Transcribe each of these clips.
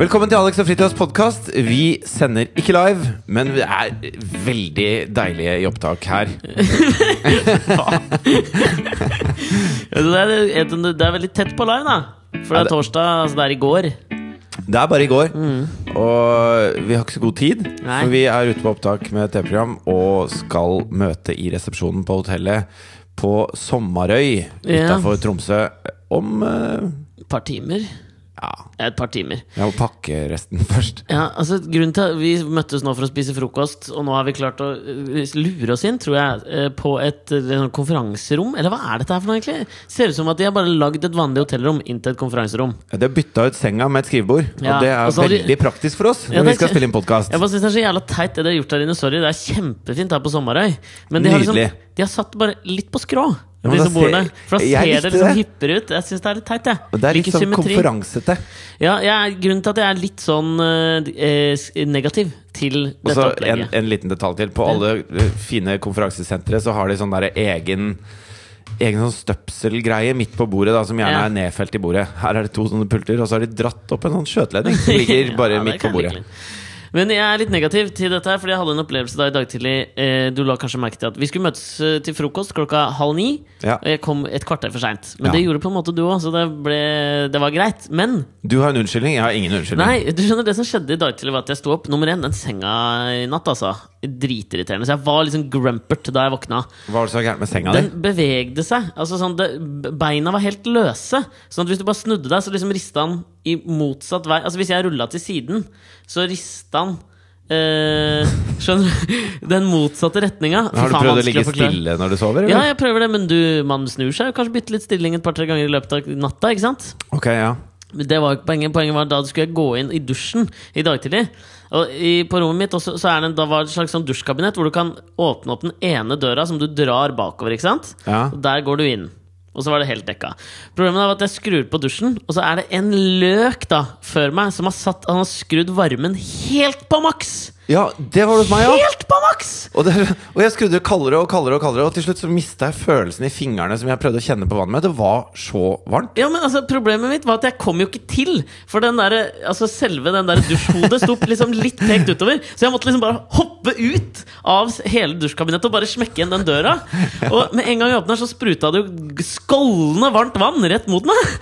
Velkommen til Alex og Fritjofs podkast. Vi sender ikke live, men vi er veldig deilige i opptak her. Ja, Det er, et- det er veldig tett på live, da. For det er torsdag, altså det er i går. Det er bare i går, og vi har ikke så god tid. Nei. For vi er ute på opptak med et TV-program og skal møte i resepsjonen på hotellet på Sommarøy Ja. utafor Tromsø om eh, Et par timer. Ja, Ja, Et par timer. jeg må pakke resten først. Ja, altså grunnen til at Vi møttes nå for å spise frokost, og nå har vi klart å øh, lure oss inn, tror jeg, eh, på et eh, sånn konferanserom. Eller hva er dette her for noe, egentlig? Ser ut som at de har bare lagd et vanlig hotellrom inn til et konferanserom. De har bytta ut senga med et skrivebord, Ja, og det er og så har de- veldig praktisk for oss Ja, når vi det- skal spille inn podkast. Jeg bare synes Det er så jævla teit, det de har gjort der inne. Sorry, det er kjempefint her på Sommarøy. Men de har, liksom, Nydelig. de har satt bare litt på skrå, Ja, men de da som bor der. ser- For da jeg ser likte det liksom det. hippere ut. Jeg syns det er litt teit, jeg. Det er litt Liker sånn symmetri. konferansete. Ja, jeg, grunnen til at jeg er litt sånn eh, s- negativ til Og dette så Altså, en, opplegget. en liten detalj til. På alle eh, fine konferansesentre så har de sånn der egen Egen sånn støpselgreie midt på bordet, da som gjerne Ja. er nedfelt i bordet. Her er det to sånne pulter, og så har de dratt opp en sånn skjøteledning som ligger bare Ja, det midt på kan jeg bordet. virkelig. Men jeg er litt negativ til dette, her Fordi jeg hadde en opplevelse da i dag tidlig. Eh, Du la kanskje merke til at Vi skulle møtes eh, til frokost klokka halv ni. Ja. Og jeg kom et kvarter for seint. Men Ja. det gjorde på en måte du òg, så det, ble, det var greit. Men Du har en unnskyldning, jeg har ingen unnskyldning. Nei, du skjønner det som skjedde i dag til var at jeg sto opp. Nummer én, den senga i natt, altså. Dritirriterende. Så jeg var liksom grumpert da jeg våkna. Hva var det så gærent med senga di? Den bevegde seg. Altså sånn, det, Beina var helt løse. Sånn at hvis du bare snudde deg, så liksom rista den i motsatt vei. Altså Hvis jeg rulla til siden, så rista den eh, Skjønner du? Den motsatte retninga. Fy Har du faen, prøvd å vanskelig ligge forklare. stille når du sover? Ja, Eller? jeg prøver det, men du, man snur seg jo kanskje bitte litt stilling et par-tre ganger i løpet av natta. ikke sant? Ok, ja. Men Det var jo ikke poenget. Poenget var da skulle jeg gå inn i dusjen i dag tidlig. Og i, på rommet mitt også, så er det, en- da var det et slags sånn dusjkabinett hvor du kan åpne opp den ene døra som du drar bakover. ikke sant? Ja. Og der går du inn. Og så var det helt dekka. Problemet er at jeg skrur på dusjen, og så er det en løk da før meg som har, satt, han har skrudd varmen helt på maks! ja, det var det hos meg òg! Helt på maks! Og, det, og jeg skrudde kaldere og kaldere, og kaldere Og til slutt så mista jeg følelsen i fingrene som jeg prøvde å kjenne på vannet med. Det var så varmt. Ja, men altså, Problemet mitt var at jeg kom jo ikke til. For den der, altså, selve den der dusjhodet sto liksom litt pekt utover. Så jeg måtte liksom bare hoppe ut av s- hele dusjkabinettet og bare smekke igjen den døra. Og med en gang jeg åpner, så spruta det jo g- skålende varmt vann rett mot meg!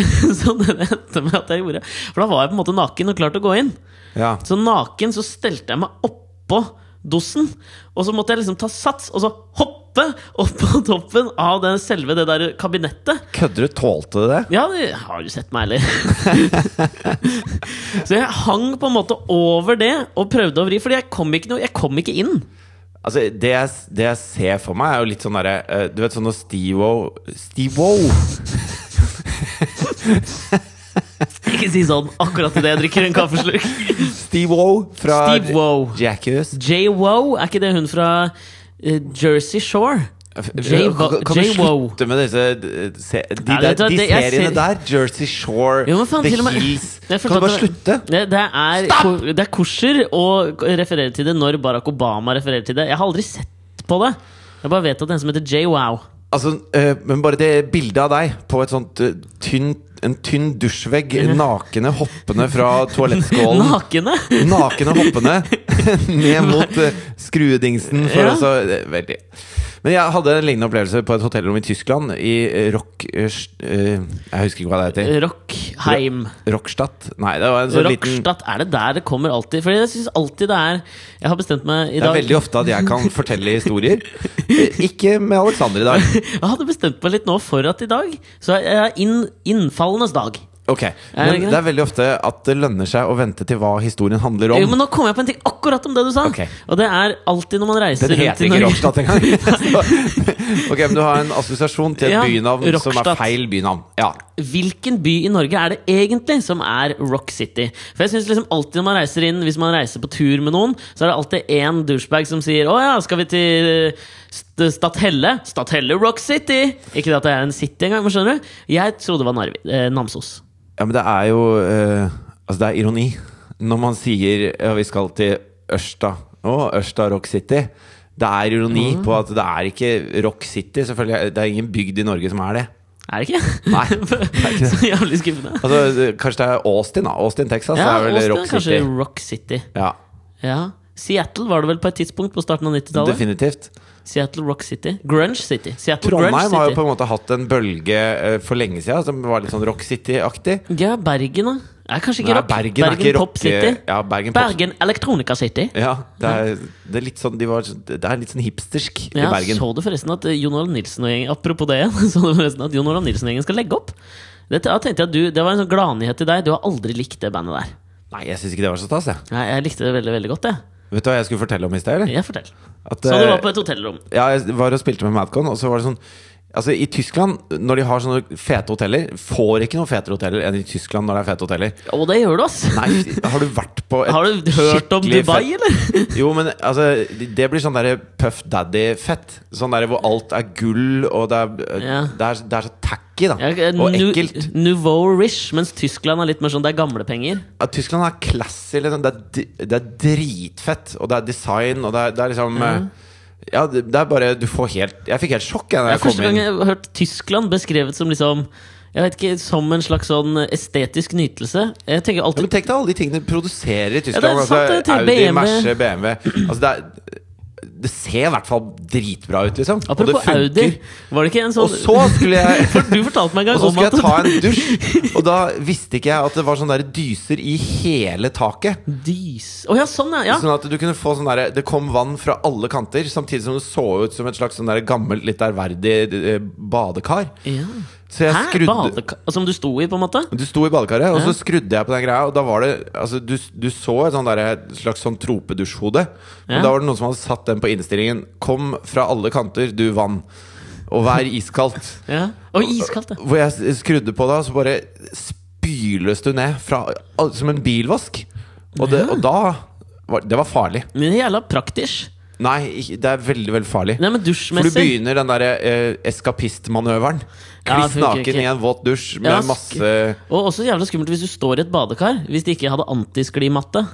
så det endte med at jeg gjorde. For da var jeg på en måte naken og klar til å gå inn. Ja. Så naken så stelte jeg meg oppå dosen, og så måtte jeg liksom ta sats, og så hoppe opp på toppen av den, selve det der kabinettet. Kødder du? Tålte du det? Ja, det har du sett meg, eller? så jeg hang på en måte over det og prøvde å vri, fordi jeg kom ikke, noe, jeg kom ikke inn. Altså, det jeg, det jeg ser for meg, er jo litt sånn derre eh, Du vet sånn når Steve-O Steve-O! Ikke si sånn akkurat idet jeg drikker en kaffeslurk. Steve-O fra Steve-O. Jackass. J-Wo, er ikke det hun fra eh, Jersey Shore? J-Wo- Kan kan du J-Wo. slutte med disse eh, se, De, Nei, der, vet du hva, de det- jeg seriene ser- der? Jersey Shore, Jo, men faen, The til og med- Hills Jeg Kan du forstår bare at slutte? Det, det, er, ko- det er kosher å referere til det når Barack Obama refererer til det. Jeg har aldri sett på det. Jeg bare vet at det er en som heter J-Wow. Altså, eh, men bare det bildet av deg på et sånt eh, tynn, en tynn dusjvegg, Mhm. nakne hoppende fra toalettskålen Nakne! Nakne hoppende ned mot eh, skruedingsen. For Ja. altså, eh, veldig. Men jeg hadde en lignende opplevelse på et hotellrom i Tyskland, i eh, Rock... eh, st- eh, jeg husker ikke hva det heter. Rockheim. Rockstadt? Nei, det var en sånn liten Rockstadt, er det der det kommer alltid? Fordi jeg synes alltid det er Jeg har bestemt meg det i er dag veldig ofte at jeg kan fortelle historier. Eh, Ikke med Alexander i dag. Jeg hadde bestemt meg litt nå for at i dag Så jeg er inn, innfallenes dag Ok, Men greit? det er veldig ofte at det lønner seg å vente til hva historien handler jo, om. men nå kom jeg på en ting akkurat om det du sa Ok. Og det er alltid når man reiser Den rundt heter i ikke Norge Rockstadt engang. Så- ok, men du har en assosiasjon til et Ja, bynavn som er Rockstadt. feil bynavn. Ja, Hvilken by i Norge er det egentlig som er Rock City? For jeg synes liksom alltid når man reiser inn Hvis man reiser på tur med noen Så er det alltid en douchebag som sier Åja, skal vi til eh, St Stadhelle? Stadhelle Rock City! Ikke det at det er en city engang, men skjønner du? Jeg trodde det var Narvi, eh, Namsos Ja, men det er jo eh, Altså, det er ironi. Når man sier ja, vi skal til Ørsta Å, Ørsta Rock City. Mm. Det er ironi på at det er ikke Rock City. Selvfølgelig, Det er ingen bygd i Norge som er det. Er det ikke? Nei, det er ikke det. Så jævlig skuffende. Altså, det- kanskje det er Austin, da. Austin, Texas. Ja, det er vel Austin, Rock kanskje City. Rock City. Ja, Ja. Seattle var det vel på et tidspunkt på starten av 90-tallet? definitivt. Seattle Rock City. Grunge City. Seattle Grunge Trondheim har jo City. på en måte hatt en bølge eh, for lenge siden som var litt sånn Rock City-aktig. Ja, Bergen, da. Er kanskje ikke Nei, rock. Bergen er ikke Pop rock- eh, City. Ja, Bergen Pop- Bergen Elektronika City. Ja, det er, det er litt sånn de var, Det er litt sånn hipstersk i Ja, Bergen. Så du forresten at eh, Jon Olav Nilsen og gjengen Apropos det igjen. Så du forresten at Jon Olav Nilsen og gjengen skal legge opp? Det, da tenkte jeg at du, det var en sånn gladnyhet til deg. Du har aldri likt det bandet der. Nei, jeg syns ikke det var så stas, jeg. Nei, jeg likte det veldig veldig godt, jeg. Vet du hva jeg skulle fortelle om i sted, eller? Jeg fortell. At, Så du eh, var på et hotellrom. Ja, jeg var og spilte med Madcon, og så var det sånn Altså, i Tyskland, når de har sånne fete hoteller Får ikke noen fetere hoteller enn i Tyskland når det er fete hoteller. Og det gjør du, ass! Nei, har du vært på et Har du hørt om skikkelig Dubai, fett- eller? Jo, men altså Det blir sånn derre Puff Daddy-fett. Sånn derre hvor alt er gull, og det er, Ja. det er, det er så tacky, da. Ja, eh, og nu- ekkelt. Nouveau Rish, mens Tyskland er litt mer sånn det er gamle penger. Ja, Tyskland er classy, liksom. Det er, di- det er dritfett, og det er design, og det er, det er liksom eh, Ja, det det er bare Du får helt Jeg fikk helt sjokk jeg, da Det er jeg kom første gang inn. jeg har hørt Tyskland beskrevet som liksom jeg vet ikke, Som en slags sånn estetisk nytelse. Jeg tenker Ja, men alltid tenk deg alle de tingene de produserer i er Tyskland. sant, det er altså, til Audi, BMW. Merce, BMW. Altså, det, er, det ser i hvert fall dritbra ut, liksom. og det Apropos funker. Audi. Var det ikke en sånn Og så skulle jeg For du fortalte meg en Og gang så om skulle at jeg ta en dusj, og da visste ikke jeg at det var sånne der dyser i hele taket. Dys Å ja, sånn, ja. ja. Sånn at du kunne få sånn der, Det kom vann fra alle kanter, samtidig som det så ut som et slags sånn der gammelt, litt ærverdig eh, badekar. ja. Så jeg Hæ? skrudde Badeka som du sto i, på en måte? du sto i badekaret, og så skrudde jeg på den greia. Og da var det altså, Du, du så et sånn derre- et slags sånn tropedusjhode. Men Ja. da var det noen som hadde satt den på innstillingen. Kom fra alle kanter, du vann. Og vær iskaldt. Ja. Og iskaldt, ja. Hvor jeg s- skrudde på da, så bare spyles du ned fra, al- som en bilvask. Og, det, og da var, Det var farlig. Men det er jævla praktisk. Nei, ikke- det er veldig, veldig farlig. Nei, men For du dusjmessig begynner den derre eh, eskapistmanøveren. Ja, Kliss funker naken ikke. i en våt dusj med Ja, sk- masse Og også jævla skummelt hvis du står i et badekar. Hvis de ikke hadde antisklimatte.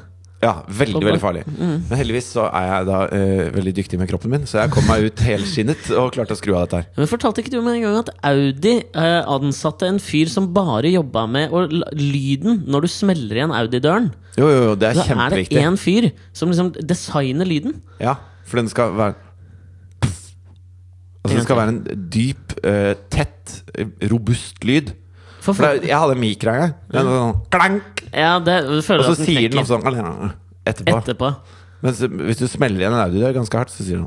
Ja, veldig, Og- veldig farlig. Mm. Men heldigvis så er jeg da eh, veldig dyktig med kroppen min, så jeg kom meg ut helskinnet og klarte å skru av dette her. Men fortalte ikke du meg en gang at Audi eh, ansatte en fyr som bare jobba med å la- lyden når du smeller igjen Audi-døren? Jo, jo, jo, det er Da er det kjempeviktig. én fyr som liksom designer lyden. Ja, for den skal være Altså den skal være en dyp, eh, tett, eh, robust lyd. For For det, er- jeg hadde en mikra en gang. Den var sånn klank! ja, det, du føler Og så at den sier den også knekker sånn etterpå. etterpå. Mens hvis du smeller igjen en audidør ganske hardt, så sier den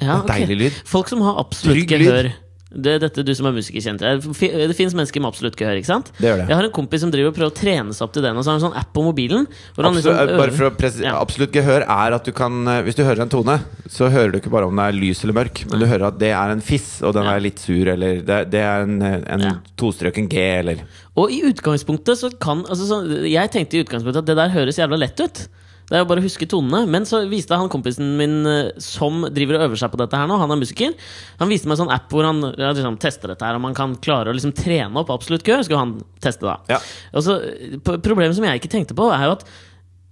Ja, ok. Deilig lyd. Folk som har absolutt Trygg gehør. Det er dette du som er musiker kjenner til. Det fi- eh, Det fins mennesker med absolutt gehør. ikke sant? Det gjør det. Jeg har en kompis som driver og prøver å trene seg opp til den. Og så har han en sånn app på mobilen. Hvor han Absolutt, liksom eh, bare øver- for å presi- Ja. absolutt gehør er at du kan eh, Hvis du hører en tone, så hører du ikke bare om det er lys eller mørk, men du hører at det er en fiss, og den Ja. er litt sur, eller det, det er en, eh, en Ja. tostrøken G, eller Og i utgangspunktet så kan altså, så, Jeg tenkte i utgangspunktet at det der høres jævla lett ut. Det er jo bare å huske tonene. Men så viste han kompisen min eh, som driver og øver seg på dette her nå, han er musiker, han viste meg en sånn app hvor han ja, liksom, tester dette her, om han kan klare å liksom, trene opp absolutt gehør. Skulle han teste, da. Ja. Og så, eh, p- problemet som jeg ikke tenkte på, er jo at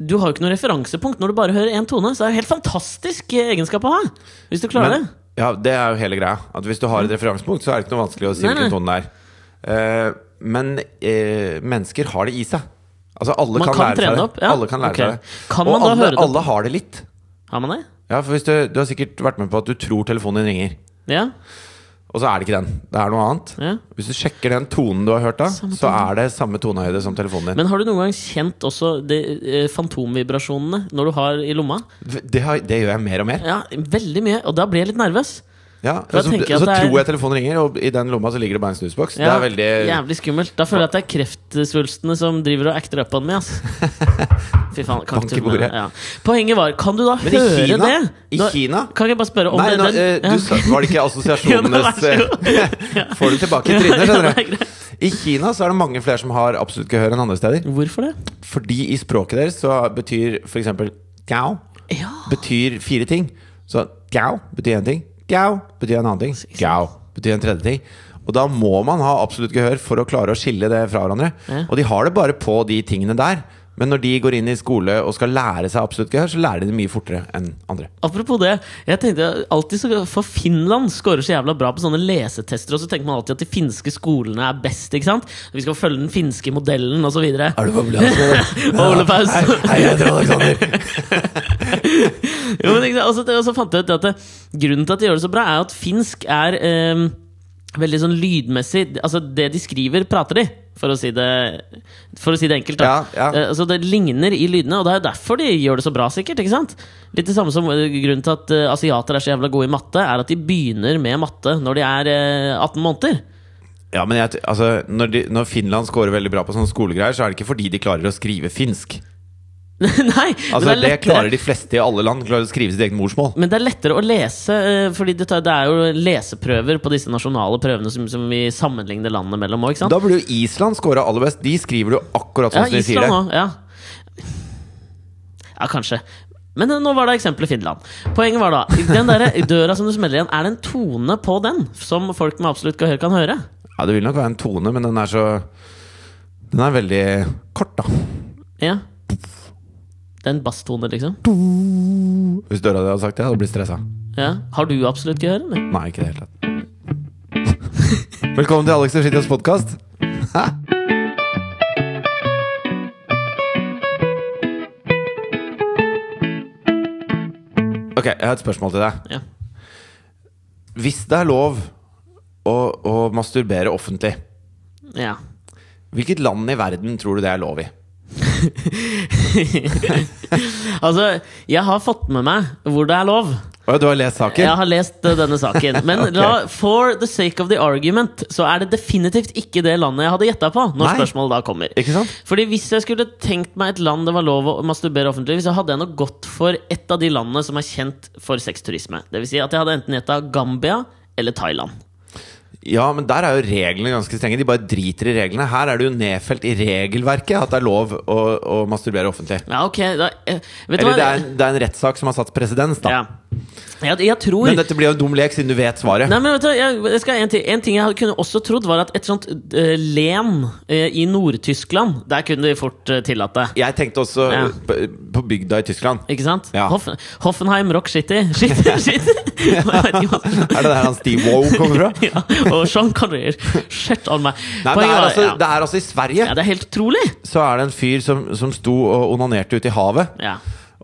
du har jo ikke noe referansepunkt når du bare hører én tone. Så det er jo helt fantastisk eh, egenskap å ha! Hvis du klarer Men- Ja, det er jo hele greia. At hvis du har et referansepunkt, så er det ikke noe vanskelig å si Nei, nei. hvilken tone det er. Eh, men eh, mennesker har det i seg. Altså, alle Man kan, kan lære seg trene det. opp, ja. Alle kan lære Ok. seg det. Kan Og man da alle, høre det på- alle har det litt. det. Har man det? Ja, for hvis du, du har sikkert vært med på at du tror telefonen din ringer, Ja? og så er det ikke den. Det er noe annet. ja. Hvis du sjekker den tonen du har hørt da, så er det samme tonehøyde som telefonen din. Men har du noen gang kjent også de eh, fantomvibrasjonene når du har i lomma? Det, har, det gjør jeg mer og mer. Ja, veldig mye, og da blir jeg litt nervøs. Ja, Da og så tenker jeg at så det er- tror jeg telefonen ringer, og i den lomma så ligger det bare en snusboks. Ja, det er veldig Jævlig skummelt. Da føler jeg at det er kreftsvulstene som driver og acter up on meg. ass. Fy faen, kan Bank i ikke tulle med det. bordet. Ja. Poenget var, kan du da Men i høre Kina- det? i Da- Kina- Kan jeg bare spørre om Nei, det? nå, den- eh, ja. du sa, var det ikke assosiasjonenes Ja, det eh, Får du tilbake i trynet, Ja, det skjønner du. er I Kina så er det mange flere som har absolutt gehør enn andre steder. Hvorfor det? Fordi i språket deres så betyr f.eks. tjau Ja, betyr fire ting. Så tjau betyr én ting, tjau betyr en annen ting, tjau betyr en tredje ting. Og da må man ha absolutt gehør for å klare å skille det fra hverandre. Ja. Og de har det bare på de tingene der. Men når de går inn i skole og skal lære seg absolutt gehør, så lærer de det mye fortere enn andre. Apropos det, jeg tenkte alltid så, For Finland scorer så jævla bra på sånne lesetester, og så tenker man alltid at de finske skolene er best. ikke sant? Vi skal følge den finske modellen osv. Er du på plass? Ole Paus. Hei, hei, jeg heter Alexander. Jo, men ikke sant? Og så- og så fant jeg ut at det, grunnen til at de gjør det så bra, er at finsk er eh, veldig sånn lydmessig Altså, det de skriver, prater de. For å si det, for å si det enkelt. Da. Ja, ja. Eh, altså, det ligner i lydene, og det er jo derfor de gjør det så bra, sikkert. ikke sant? Litt det samme som eh, grunnen til at eh, asiater er så jævla gode i matte, er at de begynner med matte når de er eh, 18 måneder. Ja, men jeg, t- altså, når, de, når Finland scorer veldig bra på sånne skolegreier, så er det ikke fordi de klarer å skrive finsk. Nei, men Altså, er det, lettere- klarer de fleste i alle land. Klarer å skrive sitt eget morsmål. Men det er lettere å lese, eh, Fordi det, tar, det er jo leseprøver på disse nasjonale prøvene som, som vi sammenligner landene mellom òg, ikke sant? Da burde jo Island score aller best. De skriver jo akkurat sånn ja, som de sier Island det. òg. Ja. ja, kanskje. Men eh, nå var det eksempelet Finland. Poenget var da Den der døra som du smeller igjen, er det en tone på den som folk med absolutt gehør kan høre? Ja, det vil nok være en tone, men den er så Den er veldig kort, da. Ja. Det er en basstone, liksom? Hvis døra hadde sagt det, hadde jeg blitt stressa. Ja. Har du absolutt gehør, eller? Nei, ikke i det hele tatt. Velkommen til Alex og Fritjofs podkast. Ok, jeg har et spørsmål til deg. Ja. Hvis det er lov å, å masturbere offentlig, ja. hvilket land i verden tror du det er lov i? Altså, jeg har fått med meg hvor det er lov. Å, du har lest saken? Jeg har lest eh, denne saken. Men Ok. la, for the sake of the argument, så er det definitivt ikke det landet jeg hadde gjetta på. Når Nei. spørsmålet da kommer Ikke sant? Fordi Hvis jeg skulle tenkt meg et land det var lov å masturbere offentlig, så hadde jeg nok gått for et av de landene som er kjent for sexturisme. Det vil si at jeg hadde enten gjetta Gambia eller Thailand. Ja, men der er jo reglene ganske strenge. De bare driter i reglene. Her er det jo nedfelt i regelverket at det er lov å, å masturbere offentlig. Ja, ok da, eh, Vet du Eller hva? det er, det er en rettssak som har satt presedens, da. ja. jeg, jeg tror Men dette blir jo en dum lek, siden du vet svaret. Nei, men vet du, jeg, jeg skal, en, ting, en ting jeg kunne også trodd, var at et sånt eh, len eh, i Nord-Tyskland Der kunne de fort eh, tillatt det. Jeg tenkte også Ja. på, på bygda i Tyskland. Ikke sant? Ja. Hoffen, Hoffenheim Rock City. Shit, shit. Jeg vet ikke hva- Er det der han Steve Wow kommer fra? ja. Og Sean Connery. Shit on meg. Nei, men det er, var- altså, ja. det er altså i Sverige. ja, det er helt utrolig! Så er det en fyr som, som sto og onanerte ute i havet. Ja.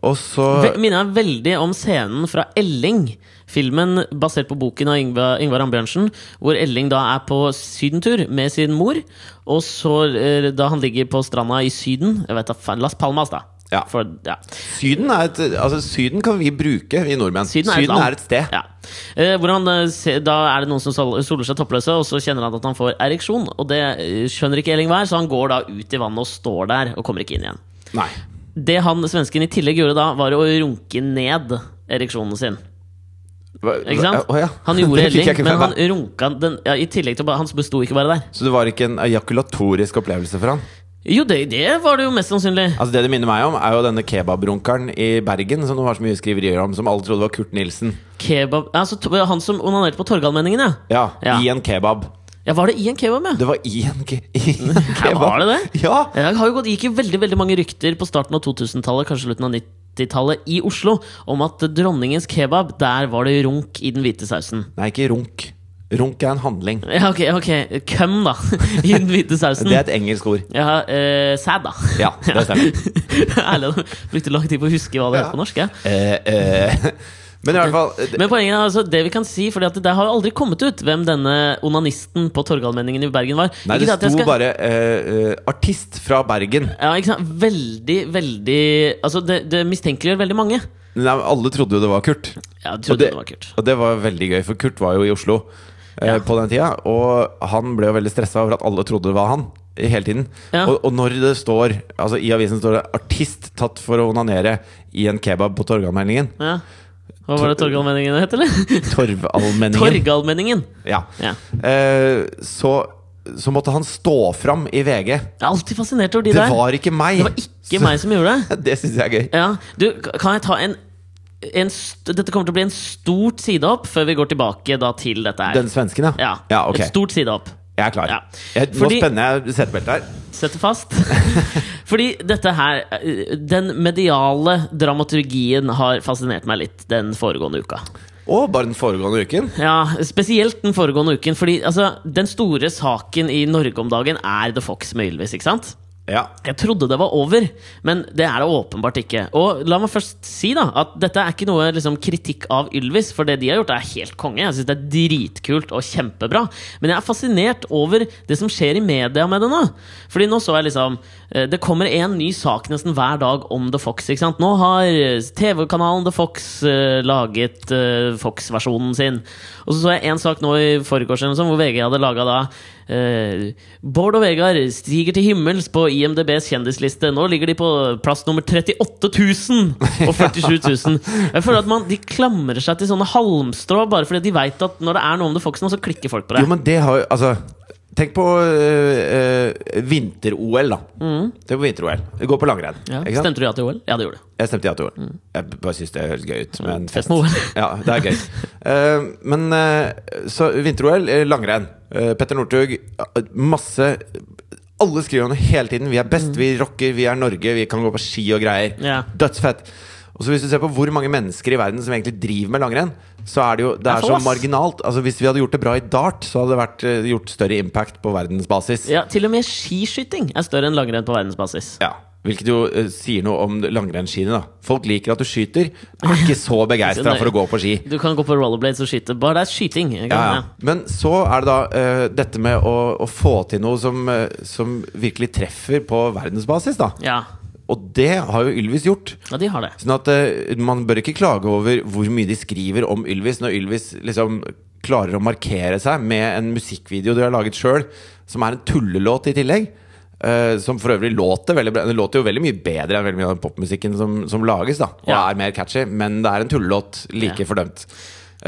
Og så Ve- Minner meg veldig om scenen fra Elling. Filmen basert på boken av Yngvar, Yngvar Ambjørnsen, hvor Elling da er på sydentur med sin mor. Og så, eh, da han ligger på stranda i Syden Jeg vet da faen, Las Palmas, da. Ja. For, ja. Syden, er et, altså, syden kan vi bruke, vi nordmenn. Syden er et land. et sted. Ja. Eh, hvor han, eh, se- da er det noen som sol- soler seg toppløse, og så kjenner han at han får ereksjon. Og det eh, skjønner ikke Elling hver, så han går da ut i vannet og står der og kommer ikke inn igjen. Nei. Det han svensken i tillegg gjorde da, var å runke ned ereksjonen sin. Hva- Ikke sant? Å, ja. Han gjorde Det fikk jeg Elling, ikke men med han meg. runka den ja, I tillegg til bare Han besto ikke bare der. Så det var ikke en ejakulatorisk opplevelse for han? Jo, det, det var det jo mest sannsynlig. Altså Det det minner meg om, er jo denne kebabrunkeren i Bergen som det var så mye skriverier om, som alle trodde var Kurt Nilsen. Kebab Altså to- han som onanerte på Torgallmenningen, ja. Ja, Ja. I en kebab. ja. Var det i en kebab, ja? Det var i en, ke i en Ja, kebab. var det det? Ja! Det Eh, har jo gått, gikk jo veldig veldig mange rykter på starten av 2000-tallet, kanskje slutten av 90-tallet, i Oslo om at dronningens kebab, der var det runk i den hvite sausen. Nei, ikke runk. Runk er en handling. Ja, ok, ok. Køm, da. I den hvite sausen. Det er et engelsk ord. Ja, eh, sæd, da. Ja, det stemmer. Ærlig, jeg brukte lang tid på å huske hva Ja. det het på norsk. Jeg. Eh, eh, men i hvert fall eh, det- Men poenget er altså det vi kan si, Fordi at det har jo aldri kommet ut hvem denne onanisten på Torgallmenningen i Bergen var. Nei, Ikke det at jeg sto skal- bare eh, eh, 'artist fra Bergen'. ja, ikke sant? Veldig, veldig Altså, det, det mistenkeliggjør veldig mange. Nei, men alle trodde jo det var Kurt. Ja, jeg Og trodde det, var kult. Og det var veldig gøy, for Kurt var jo i Oslo eh, Ja. på den tida. Og han ble jo veldig stressa over at alle trodde det var han. i Hele tiden Ja. og, og når det står Altså i avisen står det 'artist tatt for å onanere i en kebab på Torgallmenningen'. Ja. Hva var det Torgallmenningen het, eller? Torvallmenningen. Torgallmenningen! Ja. Ja. Eh, så, så måtte han stå fram i VG. Jeg er alltid fascinert over de Det der. var ikke meg! det var ikke meg som gjorde det. Så, det syns jeg er gøy. Ja. Du, kan jeg ta en, en st Dette kommer til å bli en stort sidehopp før vi går tilbake da til dette her. Den svensken, ja? ja. ok. Et stort sidehopp. Jeg er klar. Ja. Jeg, nå Fordi- spenner jeg setebeltet her. Sette fast. Fordi dette her eh, Den mediale dramaturgien har fascinert meg litt den foregående uka. Å, bare den foregående uken. Ja, Spesielt den foregående uken. Fordi altså, den store saken i Norge om dagen er The Fox med Ylvis, ikke sant? Ja. Jeg trodde det var over, men det er det åpenbart ikke. Og la meg først si da at dette er ikke noe liksom, kritikk av Ylvis, for det de har gjort, er helt konge. Jeg synes det er dritkult og kjempebra. Men jeg er fascinert over det som skjer i media med det nå. Fordi nå så jeg liksom eh, Det kommer en ny sak nesten hver dag om The Fox. ikke sant? Nå har eh, TV-kanalen The Fox eh, laget eh, Fox-versjonen sin. Og så så jeg en sak nå i forgårs eller noe sånt, hvor VG hadde laga da eh, Bård og Vegard stiger til himmels på IMDbs kjendisliste. Nå ligger de på plass nummer 38 000 og 47 000. Jeg føler at man, de klamrer seg til sånne halmstrå bare fordi de veit at når det er noe om The Fox nå, så klikker folk på det. Jo, men det har jo Altså, tenk på øh, øh, vinter-OL, da. Tenk på vinter-OL. Vi går på langrenn. Mm. Ja. Mm. ikke sant? Stemte du ja til OL? Ja, det gjorde du. Jeg stemte ja til OL. Jeg bare syns det høres gøy ut. Men Fest fest. med OL. Ja, det er gøy. Eh, men eh, så vinter-OL, eh, langrenn. Eh, Petter Northug, eh, masse Alle skriver om det hele tiden. Vi er best, vi rocker, vi er Norge, vi kan gå på ski og greier. Mm. Ja. Dødsfett. Og så Hvis du ser på hvor mange mennesker i verden som egentlig driver med langrenn, så er det jo det er er få, så ass. marginalt. Altså Hvis vi hadde gjort det bra i dart, så hadde det vært eh, gjort større impact på verdensbasis. Ja, til og med skiskyting er større enn langrenn på verdensbasis. Ja, Hvilket jo eh, sier noe om langrennsskiene. da Folk liker at du skyter, er ikke så begeistra for å gå på ski. Du kan gå på rollerblades og skyte. Bare det er skyting. ikke sant? Ja, ja. Men så er det da eh, dette med å, å få til noe som, eh, som virkelig treffer på verdensbasis, da. Ja. Og det har jo Ylvis gjort. ja, de har det. Sånn at eh, man bør ikke klage over hvor mye de skriver om Ylvis, når Ylvis liksom klarer å markere seg med en musikkvideo de har laget sjøl, som er en tullelåt i tillegg. eh, som for øvrig låter veldig bra. Den låter jo veldig mye bedre enn veldig mye av den popmusikken som, som lages, da. Og Ja. er mer catchy, men det er en tullelåt. Like Ja. fordømt.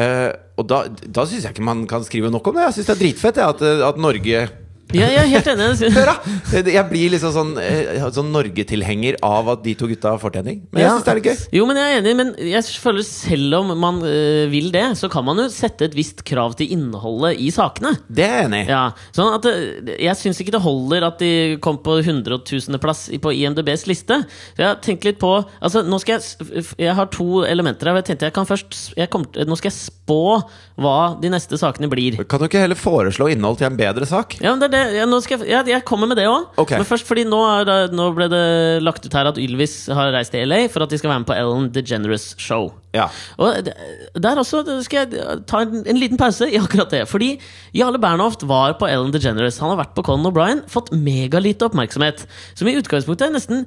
Eh, og da, da syns jeg ikke man kan skrive nok om det. Jeg syns det er dritfett jeg, at, eh, at Norge Ja, jeg er helt enig. Hør, da! Jeg blir liksom sånn, eh, sånn Norge-tilhenger av at de to gutta får tjening. Men jeg Ja. syns det er litt gøy. Jo, men jeg er enig, men jeg føler selv om man øh, vil det, så kan man jo sette et visst krav til innholdet i sakene. Det er jeg enig i. Ja, sånn at øh, Jeg syns ikke det holder at de kom på 100.000.-plass på IMDbs liste. Så jeg har tenkt litt på Altså, nå skal jeg s- f- Jeg har to elementer her. og Jeg tenkte jeg kan først s- jeg kommer til- Nå skal jeg spå hva de neste sakene blir. Kan du ikke heller foreslå innhold til en bedre sak? Ja, men det er det. Ja, nå skal jeg, ja, jeg kommer med det òg. Ok. Men først fordi nå, er, det- nå ble det lagt ut her at Ylvis har reist til LA for at de skal være med på Ellen DeGeneres show. Ja. Og d- der også eh, skal jeg ta en, en liten pause i akkurat det. Fordi Jarle Bernhoft var på Ellen DeGeneres. Han har vært på Conan O'Brien, fått megalite oppmerksomhet. Som i utgangspunktet er nesten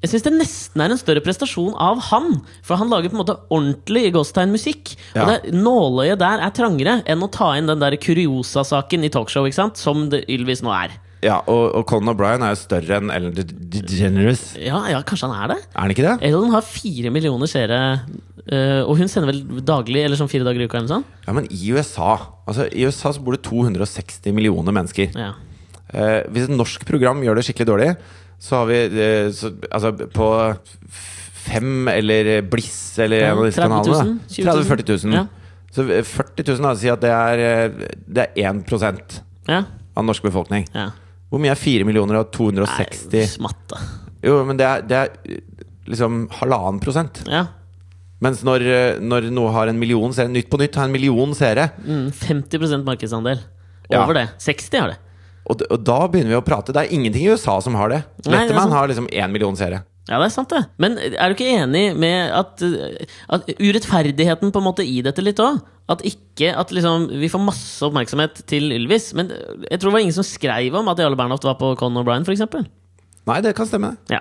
jeg synes det nesten er en større prestasjon av han. For han lager på en måte ordentlig i Gåstein musikk. Og Ja. det, nåløyet der er trangere enn å ta inn den der kuriosa-saken i talkshow, ikke sant? som det Ylvis nå er. ja og, og Colin O'Brien er jo større enn Ellen De- DeGeneres. Ja, ja, kanskje han er det? Er han ikke det? Ellen har fire millioner seere, eh, og hun sender vel daglig, eller sånn fire dager i uka? eller noe sånt? Ja, men i USA Altså, I USA så bor det 260 millioner mennesker. Ja. Eh, hvis et norsk program gjør det skikkelig dårlig, så har vi eh, så, Altså, på f- Fem eller Bliss eller Ja, en av disse 30 000, kanalene. 20 000. 30 000-40 000. Ja. Så eh, 40 000 da, si at det er, eh, det er 1 av ja, norsk befolkning. ja. Hvor mye er 4 millioner av 260 Nei, smatte. Jo, men det er, det er liksom halvannen prosent. Ja. Mens når, eh, når noe har en million seere, Nytt på Nytt har en million seere, Mm, 50 markedsandel. Ja. Over det. 60 har det. og, d- og da begynner vi å prate. Det er ingenting i USA som har det. Nei, det er sant. Letterman har liksom én million seere. Ja, det er sant, det. Men er du ikke enig med at, eh, at urettferdigheten på en måte i dette litt òg? At ikke at liksom Vi får masse oppmerksomhet til Ylvis, men jeg tror det var ingen som skrev om at Jarle Bernhoft var på Conan O'Brien, f.eks. Nei, det kan stemme. Ja.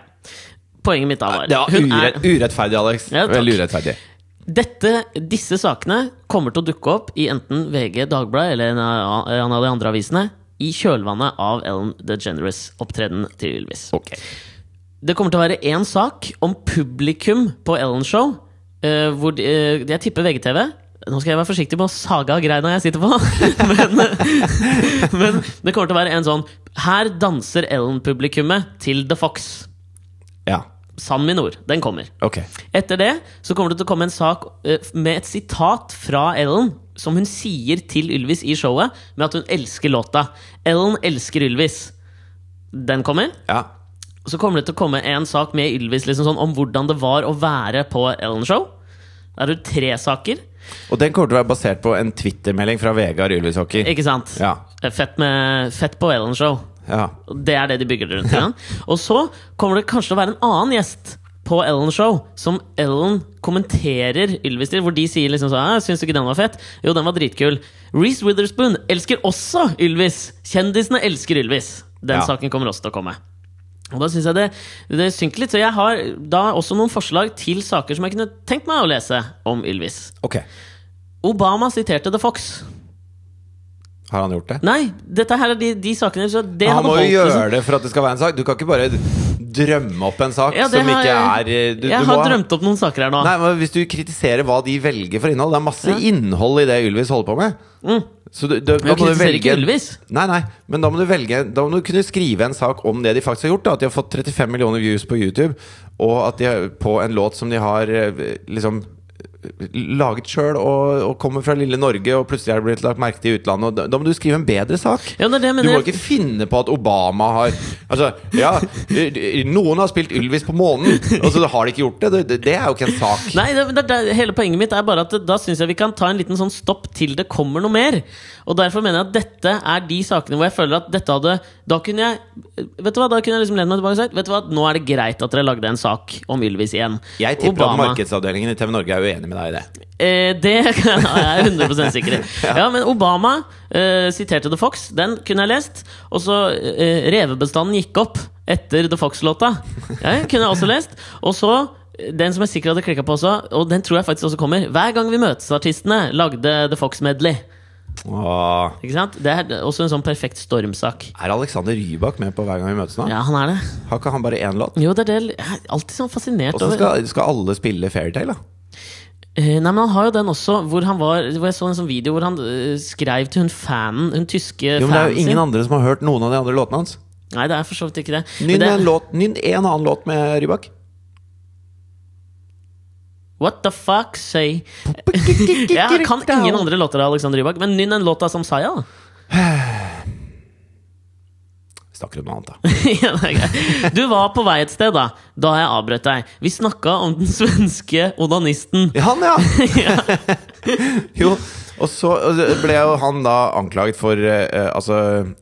Poenget mitt da var Det er hun ure, urettferdig, Alex. Ja, takk. Veldig urettferdig. dette, Disse sakene kommer til å dukke opp i enten VG, Dagbladet eller en av en av de andre avisene i kjølvannet av Ellen DeGeneres-opptredenen til Ylvis. Det kommer til å være én sak om publikum på Ellen Show. eh, hvor de, eh, jeg tipper VGTV. Nå skal jeg være forsiktig med å sage av greina jeg sitter på. men, men det kommer til å være en sånn Her danser Ellen-publikummet til The Fox. Ja, Sann min ord. Den kommer. ok. Etter det så kommer det til å komme en sak eh, med et sitat fra Ellen som hun sier til Ylvis i showet, med at hun elsker låta. Ellen elsker Ylvis. Den kommer. Ja. Så kommer det til å komme en sak med Ylvis liksom sånn, om hvordan det var å være på Ellen-show. Da er det tre saker. Og den kommer til å være basert på en Twitter-melding fra Vegard Ylvis Hockey. Ikke sant? Eh, Ja. Fett, med, fett på Ellen-show. ja. Det er det de bygger rundt. Ja. Og så kommer det kanskje til å være en annen gjest på Ellen Show som Ellen kommenterer Ylvis til, hvor de sier liksom sånn «Ah, 'Syns du ikke den var fett?' Jo, den var dritkul. Reece Witherspoon elsker også Ylvis. Kjendisene elsker Ylvis. Den Ja. saken kommer også til å komme. Og da synes jeg det, det synker litt. Så jeg har da også noen forslag til saker som jeg kunne tenkt meg å lese om Ylvis. Ok. Obama siterte The Fox. Har han gjort det? Nei, dette her er de, de sakene så det Han hadde må holdt, jo liksom. gjøre det for at det skal være en sak. Du kan ikke bare drømme opp en sak Ja, det som har ikke er eh, jeg- du, du Jeg har må- drømt opp noen saker her nå. Nei, men Hvis du kritiserer hva de velger for innhold Det er masse innhold i det Ylvis holder på med. Så du, du, da Mm. Men må jeg du kritiserer ikke velge Ylvis. Nei, nei, men da må du velge Da må du kunne skrive en sak om det de faktisk har gjort. Da. At de har fått 35 millioner views på YouTube, og at de har, på en låt som de har eh, liksom eh, laget sjøl og, og kommer fra lille Norge, og plutselig er det blitt lagt merke til i utlandet. Og da, da må du skrive en bedre sak. Ja, det er det jeg Du mener. må ikke finne på at Obama har Altså, ja, eh, noen har spilt Ylvis på månen, og så har de ikke gjort det. Det- Det, det er jo ikke en sak. Nei, det, det, det, hele poenget mitt er bare at da syns jeg vi kan ta en liten sånn stopp til det kommer noe mer. Og derfor mener jeg at dette er de sakene hvor jeg føler at dette hadde Da kunne jeg Vet du hva, da kunne jeg liksom lent meg tilbake og sagt Vet du hva, nå er det greit at dere lagde en sak om Ylvis igjen. Jeg tipper at Obama- markedsavdelingen i TV Norge er uenig med deg i det. Eh, det kan- jeg er 100 sikker i. Ja, men Obama eh, siterte The Fox. Den kunne jeg lest. Og så eh, revebestanden gikk opp etter The Fox-låta. Ja, den kunne jeg også lest. Og så eh, den som jeg sikkert hadde klikka på også, og den tror jeg faktisk også kommer. Hver gang vi møtes, artistene lagde The Fox-medley. Åh. Ikke sant? Det er også en sånn perfekt stormsak. Er Alexander Rybak med på Hver gang vi møtes nå? Ja, han er det. Har ikke han bare én låt? Jo, det er det jeg er alltid sånn fascinert Og så over. skal, skal alle spille Fairytale, da? Eh, Nei, men Han har jo den også, hvor, han var, hvor jeg så en sånn video hvor han eh, skrev til hun fanen, hun tyske Jo, men det er jo fanen sin. ingen andre som har hørt noen av de andre låtene hans. Nei, det er for så vidt ikke det. Men Nynn det en, låt, nynn en annen låt med Rybak. What the fuck, say Jeg kan ingen andre låter av Alexander Rybak, men nynn en låt av Samsaya, da. Vi snakker om noe annet, da. Ja, det er greit. du var på vei et sted, da. Da har jeg avbrøt deg. Vi snakka om den svenske onanisten. Ja, Han, ja! Ja, Jo. Og så ble jo han da anklaget for eh, altså,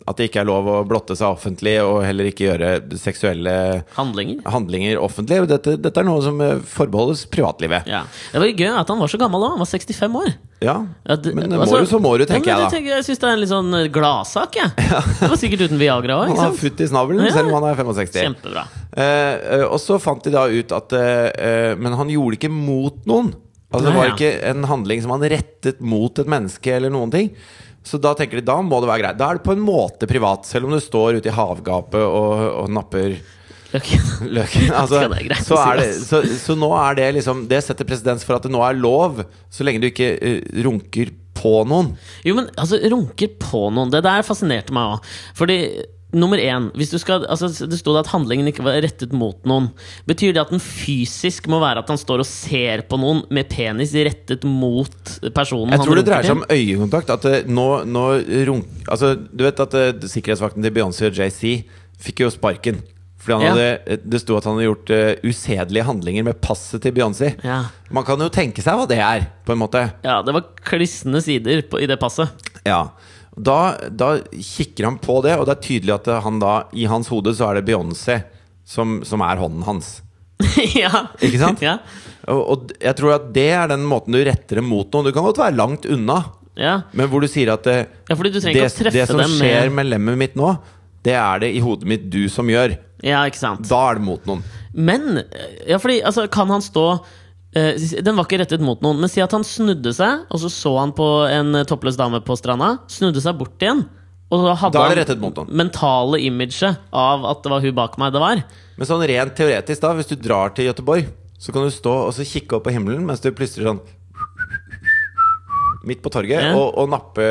at det ikke er lov å blotte seg offentlig, og heller ikke gjøre seksuelle Handlinger. handlinger offentlig. Dette, dette er noe som eh, forbeholdes privatlivet. Ja. Det var gøy at han var så gammel òg. Han var 65 år. Ja, Ja, det- men altså- må du, så må du, Ja, men tenker jeg da. tenker, jeg syns det er en litt sånn eh, gladsak, jeg. Det var sikkert uten Viagra òg, Han ikke har sant? futt i snavelen, Ja. selv om han er 65. Kjempebra. Eh, eh, og så fant de da ut at eh, eh, Men han gjorde det ikke mot noen. Altså Det Nei, var ja. ikke en handling som han rettet mot et menneske eller noen ting. Så da tenker de da må det være greit. Da er det på en måte privat, selv om du står ute i havgapet og, og napper Ok. løken. Altså, Skal det altså. være greit så, å si, er det, ass. så, så nå er det liksom Det setter presedens for at det nå er lov, så lenge du ikke eh, runker på noen. Jo, men altså, runker på noen. Det der fascinerte meg òg. Fordi Nummer én, hvis du skal, altså Det sto det at handlingen ikke var rettet mot noen. Betyr det at den fysisk må være at han står og ser på noen med penis rettet mot personen? Jeg tror det runker dreier seg om til? øyekontakt. At eh, nå, nå runk Altså, du vet at eh, sikkerhetsvakten til Beyoncé og JC fikk jo sparken. Fordi han Ja. hadde, eh, det sto at han hadde gjort eh, usedelige handlinger med passet til Beyoncé. ja. Man kan jo tenke seg hva det er, på en måte. ja, det var klissende sider på, i det passet. Ja. Da, da kikker han på det, og det er tydelig at eh, han da, i hans hode så er det Beyoncé som, som er hånden hans. ja. Ikke sant? Ja. Og, og jeg tror at det er den måten du retter det mot noen. Du kan godt være langt unna, Ja. men hvor du sier at eh, ja, fordi du trenger det, ikke å treffe det som dem skjer med lemmet mitt nå, det er det i hodet mitt du som gjør. Ja, ikke sant. Da er det mot noen. Men ja, fordi, altså, kan han stå eh, Den var ikke rettet mot noen, men si at han snudde seg, og så så han på en eh, toppløs dame på stranda. Snudde seg bort igjen. Og da hadde Da er det han rettet mot noen. mentale imaget av at det var hun bak meg det var. Men sånn rent teoretisk, da, hvis du drar til Gøteborg, så kan du stå og så kikke opp på himmelen mens du plystrer sånn Midt på torget Ja. og, og nappe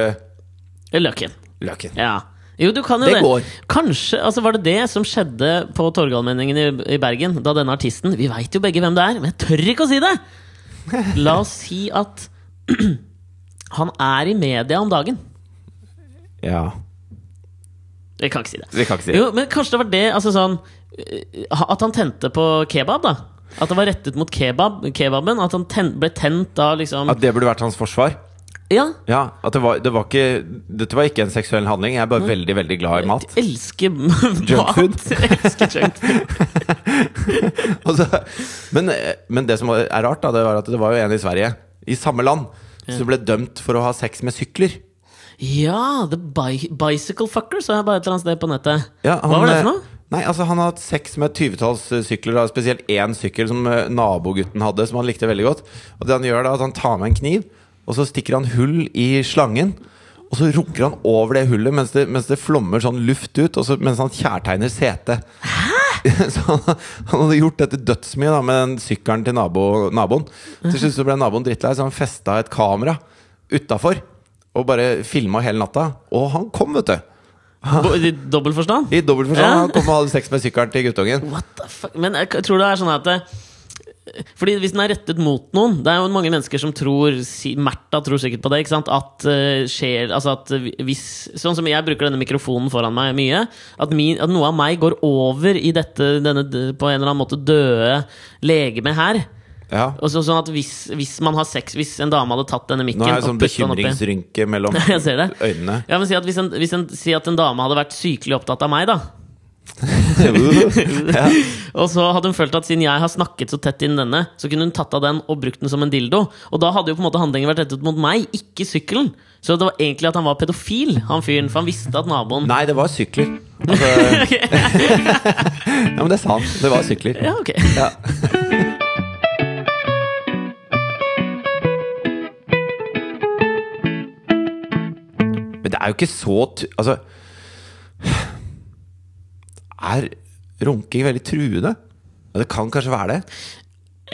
Løken. løken. Ja. Jo, du kan jo Det det. går. Kanskje altså, var det det som skjedde på Torgallmenningen i, i Bergen, da denne artisten Vi veit jo begge hvem det er, men jeg tør ikke å si det! La oss si at Han er i media om dagen. Ja. Jeg kan ikke si det. Vi kan ikke si det. Jo, men kanskje det var det altså sånn, eh, At han tente på kebab, da. At det var rettet mot kebab, kebaben. At han ten, ble tent av liksom At det burde vært hans forsvar? Ja, Ja, at det var, det var ikke, Dette var ikke en seksuell handling. Jeg er bare veldig veldig glad i mat. jeg elsker mat. Junkfood. Jeg elsker junkfood. Og så, men, men det som var- er rart, da, det var at det var jo en i Sverige, i samme land, som ble dømt for å ha sex med sykler. Ja, The bi Bicycle Fucker, så jeg bare et eller annet sted på nettet. Ja, Hva var det for eh, noe? Nei, altså Han har hatt sex med et tyvetalls eh, sykler, da, spesielt én sykkel som eh, nabogutten hadde, som han likte veldig godt. Og det Han gjør da, er at han tar med en kniv, og så stikker han hull i slangen. Og så rukker han over det hullet mens det, mens det flommer sånn luft ut, og så, mens han kjærtegner setet. Så han, han hadde gjort dette dødsmye da, med den sykkelen til nabo, naboen. Til slutt så ble naboen drittlei, så han festa et kamera utafor. Og bare filma hele natta. Og han kom, vet du! Bo- I dobbel forstand? I dobbelt forstand. Ja. Han kom og hadde sex med sykkelen til guttungen. What the fuck? Men jeg tror det er sånn at det- fordi Hvis den er rettet mot noen Det er jo mange mennesker som tror si- Märtha tror sikkert på det. ikke sant? At eh, skjer altså at hvis, Sånn som jeg bruker denne mikrofonen foran meg mye. At, min, at noe av meg går over i dette denne, d- på en eller annen måte døde legemet her. Ja. Og så, sånn at hvis, hvis man har sex Hvis en dame hadde tatt denne mikken Nå har jeg og sånn puttet den opp i- bekymringsrynke mellom Jeg ser det. øynene. Ja, men si at, hvis en, hvis en, si at en dame hadde vært sykelig opptatt av meg, da. Og så hadde hun følt at siden jeg har snakket så tett inn denne, så kunne hun tatt av den og brukt den som en dildo. Og da hadde jo på en måte handlingen vært rettet mot meg, ikke sykkelen. Så det var egentlig at han var pedofil, han fyren. For han visste at naboen Nei, det var sykler. Altså, ja, men det er sant. Det var sykler. Ja, ok. Ja. Men det er jo ikke så tu Altså Er runking veldig truende? Ja, det kan kanskje være det.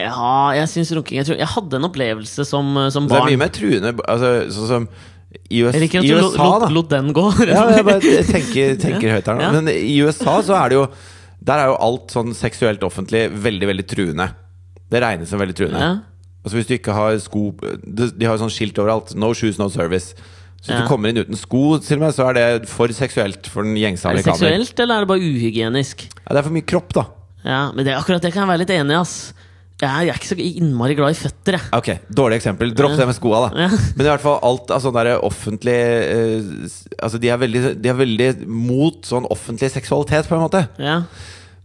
Ja, jeg syns runking jeg, tror, jeg hadde en opplevelse som, eh, som Det er mye barn. mer truende altså, Sånn som i US, Jeg liker at i du lot- USA, lot- da. lot den gå. Ja, jeg bare tenker, tenker høyt her nå. Ja. Men i USA så er det jo Der er jo alt sånn seksuelt offentlig veldig, veldig truende. Det regnes som veldig truende. Ja. Altså Hvis du ikke har sko De de har jo sånn skilt overalt. No shoes, no service. Så hvis Ja. du kommer inn uten sko, til og med, så er det for seksuelt for den gjengse Er det amerikaner. seksuelt, eller er det bare uhygienisk? Ja, det er for mye kropp, da. Ja, men det, akkurat det kan jeg være litt enig i, ass. Jeg er, jeg er ikke så innmari glad i føtter, jeg. Ok, Dårlig eksempel. Dropp det med skoa, da. Ja. Men i hvert fall alt av sånn derre offentlig eh, s- Altså de er, veldig, de er veldig mot sånn offentlig seksualitet, på en måte. Ja.